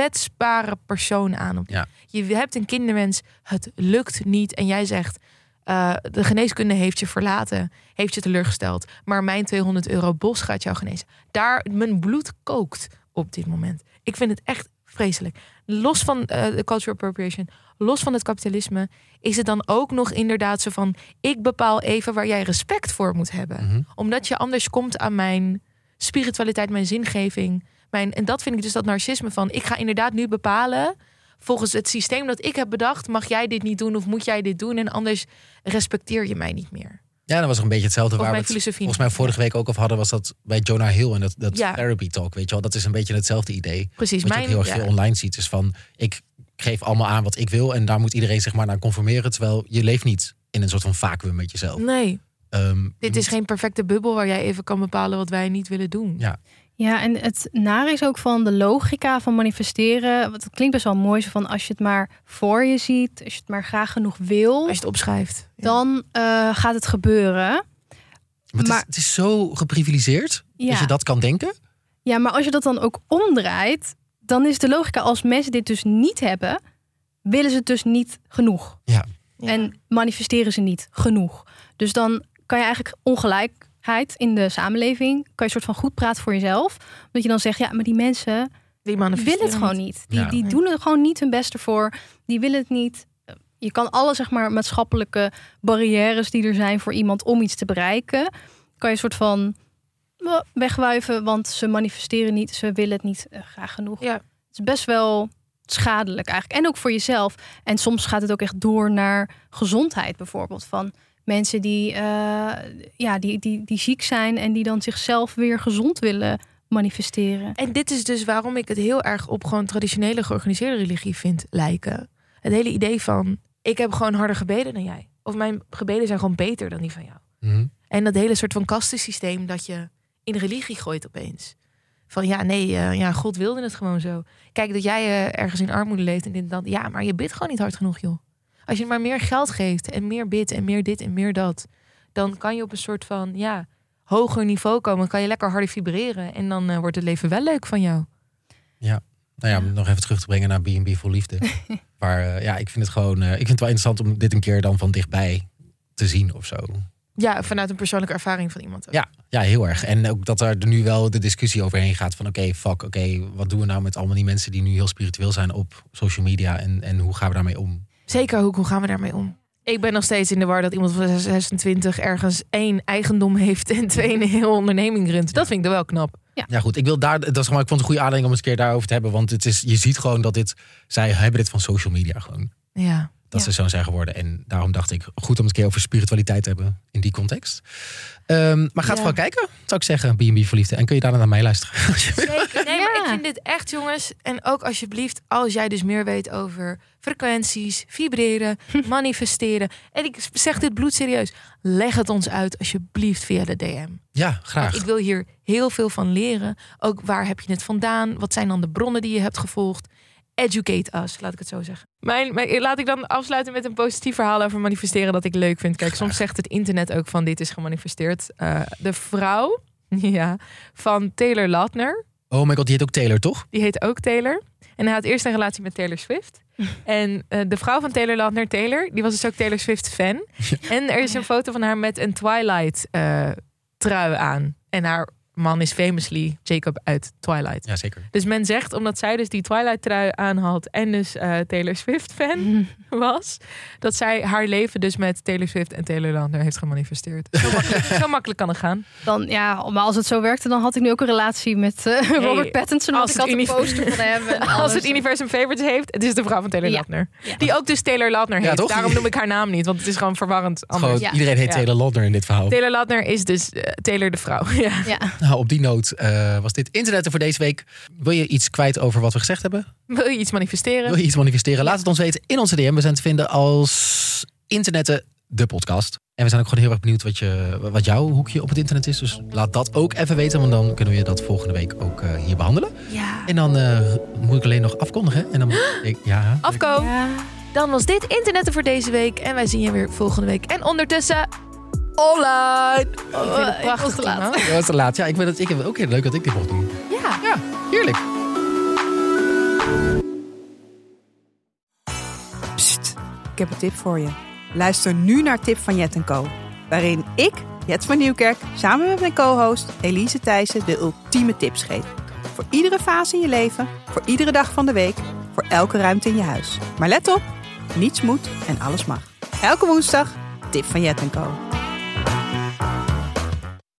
S5: kwetsbare persoon aan. Op
S4: Ja.
S5: Je hebt een kinderwens, het lukt niet. En jij zegt, eh, de geneeskunde heeft je verlaten, heeft je teleurgesteld. Maar mijn 200 euro bos gaat jou genezen. Daar, mijn bloed kookt op dit moment. Ik vind het echt vreselijk. Los van eh, de cultural appropriation, los van het kapitalisme... is het dan ook nog inderdaad zo van... ik bepaal even waar jij respect voor moet hebben.
S4: Mhm.
S5: Omdat je anders komt aan mijn spiritualiteit, mijn zingeving. Mijn, en dat vind ik dus dat narcisme van... ik ga inderdaad nu bepalen... volgens het systeem dat ik heb bedacht... mag jij dit niet doen of moet jij dit doen... en anders respecteer je mij niet meer.
S4: Ja, dat was een beetje hetzelfde
S5: Volgens
S4: waar
S5: mij
S4: we het
S5: filosofie.
S4: volgens mij vorige week ook over hadden. Was dat bij Jonah Hill en dat, dat
S5: Ja.
S4: therapy talk, weet je wel. Dat is een beetje hetzelfde idee.
S5: Precies,
S4: Wat
S5: mijn-
S4: je ook heel
S5: ja.
S4: erg veel online ziet. Is van, ik geef allemaal aan wat ik wil. En daar moet iedereen zich maar naar conformeren. Terwijl je leeft niet in een soort van vacuüm met jezelf.
S5: Nee,
S4: Ehm,
S5: dit is geen perfecte bubbel... waar jij even kan bepalen wat wij niet willen doen.
S4: Ja,
S3: Ja, en het nare is ook van de logica van manifesteren. Want het klinkt best wel mooi, zo van als je het maar voor je ziet, als je het maar graag genoeg wil,
S5: Als je het opschrijft.
S3: dan eh, gaat het gebeuren.
S4: Maar, het,
S3: Maar-
S4: is, het is zo geprivilegeerd
S3: Ja.
S4: dat je dat kan denken.
S3: Ja, maar als je dat dan ook omdraait, dan is de logica als mensen dit dus niet hebben, willen ze het dus niet genoeg.
S4: Ja.
S3: En manifesteren ze niet genoeg. Dus dan kan je eigenlijk ongelijkheid in de samenleving, kan je soort van goed praten voor jezelf. Omdat je dan zegt, ja, maar die mensen
S5: die
S3: willen het gewoon niet. Die, die doen er gewoon niet hun best voor. Die willen het niet. Je kan alle zeg maar, maatschappelijke barrières die er zijn voor iemand om iets te bereiken, kan je soort van eh, wegwuiven, want ze manifesteren niet, ze willen het niet eh, graag genoeg. Het is best wel schadelijk eigenlijk. En ook voor jezelf. En soms gaat het ook echt door naar gezondheid bijvoorbeeld. Van mensen die, eh, ja, die, die, die ziek zijn en die dan zichzelf weer gezond willen manifesteren.
S5: En dit is dus waarom ik het heel erg op gewoon traditionele georganiseerde religie vind lijken. Het hele idee van, ik heb gewoon harder gebeden dan jij. Of mijn gebeden zijn gewoon beter dan die van jou. En dat hele soort van kastensysteem dat je in religie gooit opeens. Van ja, nee, eh, ja, God wilde het gewoon zo. Kijk, dat jij eh, ergens in armoede leeft en dit en dat. Ja, maar je bidt gewoon niet hard genoeg, joh. Als je maar meer geld geeft en meer bidt en meer dit en meer dat... dan kan je op een soort van, ja, hoger niveau komen. Kan je lekker harder vibreren en dan eh, wordt het leven wel leuk van jou.
S4: Ja. Nou ja, om nog even terug te brengen naar B&B voor Liefde. waar, eh, ja, ik vind het gewoon... eh, ik vind het wel interessant om dit een keer dan van dichtbij te zien of zo.
S5: Ja, vanuit een persoonlijke ervaring van iemand. ook.
S4: Ja, ja, heel erg. En ook dat er nu wel de discussie overheen gaat van... oké, fuck, oké, wat doen we nou met allemaal die mensen... die nu heel spiritueel zijn op social media... en, en hoe gaan we daarmee om?
S5: Zeker, hoe, hoe gaan we daarmee om? Ik ben nog steeds in de war dat iemand van 26 ergens één eigendom heeft en twee een hele onderneming runt. Dat vind ik dan wel knap.
S4: Ja. goed, ik wil daar, dat is, maar ik vond het een goede aanleiding om eens een keer daarover te hebben. Want het is, je ziet gewoon dat dit, zij hebben dit van social media gewoon.
S5: Ja.
S4: Dat ze zo zijn geworden. En daarom dacht ik, goed om het een keer over spiritualiteit te hebben in die context. Ehm, maar ga het
S5: Ja.
S4: gewoon kijken, zou ik zeggen, B&B voor liefde. En kun je daarna naar mij luisteren. Als je wil.
S5: Zeker. Nee, maar ik vind dit echt, jongens. En ook alsjeblieft, als jij dus meer weet over frequenties, vibreren, manifesteren. En ik zeg dit bloedserieus. Leg het ons uit, alsjeblieft, via de DM.
S4: ja, graag.
S5: Want ik wil hier heel veel van leren. Ook waar heb je het vandaan? Wat zijn dan de bronnen die je hebt gevolgd? Educate us, laat ik het zo zeggen. Mijn, mijn- laat ik dan afsluiten met een positief verhaal over manifesteren dat ik leuk vind. Kijk, soms zegt het internet ook van dit is gemanifesteerd. Eh, de vrouw ja, van Taylor Lautner,
S4: Oh my god, die heet ook Taylor, toch?
S5: die heet ook Taylor. En hij had eerst een relatie met Taylor Swift. En eh, de vrouw van Taylor Lautner, Taylor, die was dus ook Taylor Swift fan. En er is een foto van haar met een Twilight eh, trui aan. En haar man is famously Jacob uit Twilight.
S4: Ja, zeker.
S5: Dus men zegt, omdat zij dus die Twilight trui aan had en dus eh, Taylor Swift fan was, dat zij haar leven dus met Taylor Swift en Taylor Lautner heeft gemanifesteerd. Zo makkelijk, zo makkelijk kan het gaan.
S3: Dan, ja, maar als het zo werkte, dan had ik nu ook een relatie met eh, Robert Pattinson.
S5: als
S3: Als ik
S5: het
S3: had een
S5: univers-
S3: poster van hem. en
S5: Als
S3: alles.
S5: het universum favorites heeft, het is de vrouw van Taylor
S3: Ja.
S5: Lautner. Die ook dus Taylor Lautner
S4: Ja,
S5: heeft.
S4: toch?
S5: Daarom noem ik haar naam niet, want het is gewoon verwarrend. Anders.
S4: Gewoon, Iedereen heet
S5: Ja.
S4: Taylor Lautner in dit verhaal.
S5: Taylor Lautner is dus eh, Taylor de vrouw. Ja.
S4: Nou, op die noot eh, was dit internet er voor deze week. Wil je iets kwijt over wat we gezegd hebben?
S5: Wil je iets manifesteren?
S4: Wil je iets manifesteren? Laat het ons weten in onze DM. We zijn te vinden als internetten de podcast. En we zijn ook gewoon heel erg benieuwd wat, je, wat jouw hoekje op het internet is. Dus laat dat ook even weten, want dan kunnen we dat volgende week ook eh, hier behandelen.
S5: Ja.
S4: En dan eh, moet ik alleen nog afkondigen. En dan, ik, ja.
S5: Afko. Dan was dit internetten voor deze week. En wij zien je weer volgende week. En ondertussen... Online! Oh,
S3: eh,
S5: ik vind het prachtig, Timo.
S4: Dat was te laat. Ja, ik vind het, ik vind het ook heel leuk dat ik dit mocht doen.
S5: Ja.
S4: ja, heerlijk.
S12: Psst, ik heb een tip voor je. Luister nu naar Tip van Jet Co. Waarin ik, Jet van Nieuwkerk, samen met mijn co-host Elise Thijssen de ultieme tips geef. Voor iedere fase in je leven, voor iedere dag van de week, voor elke ruimte in je huis. Maar let op, niets moet en alles mag. Elke woensdag, Tip van Jet Co.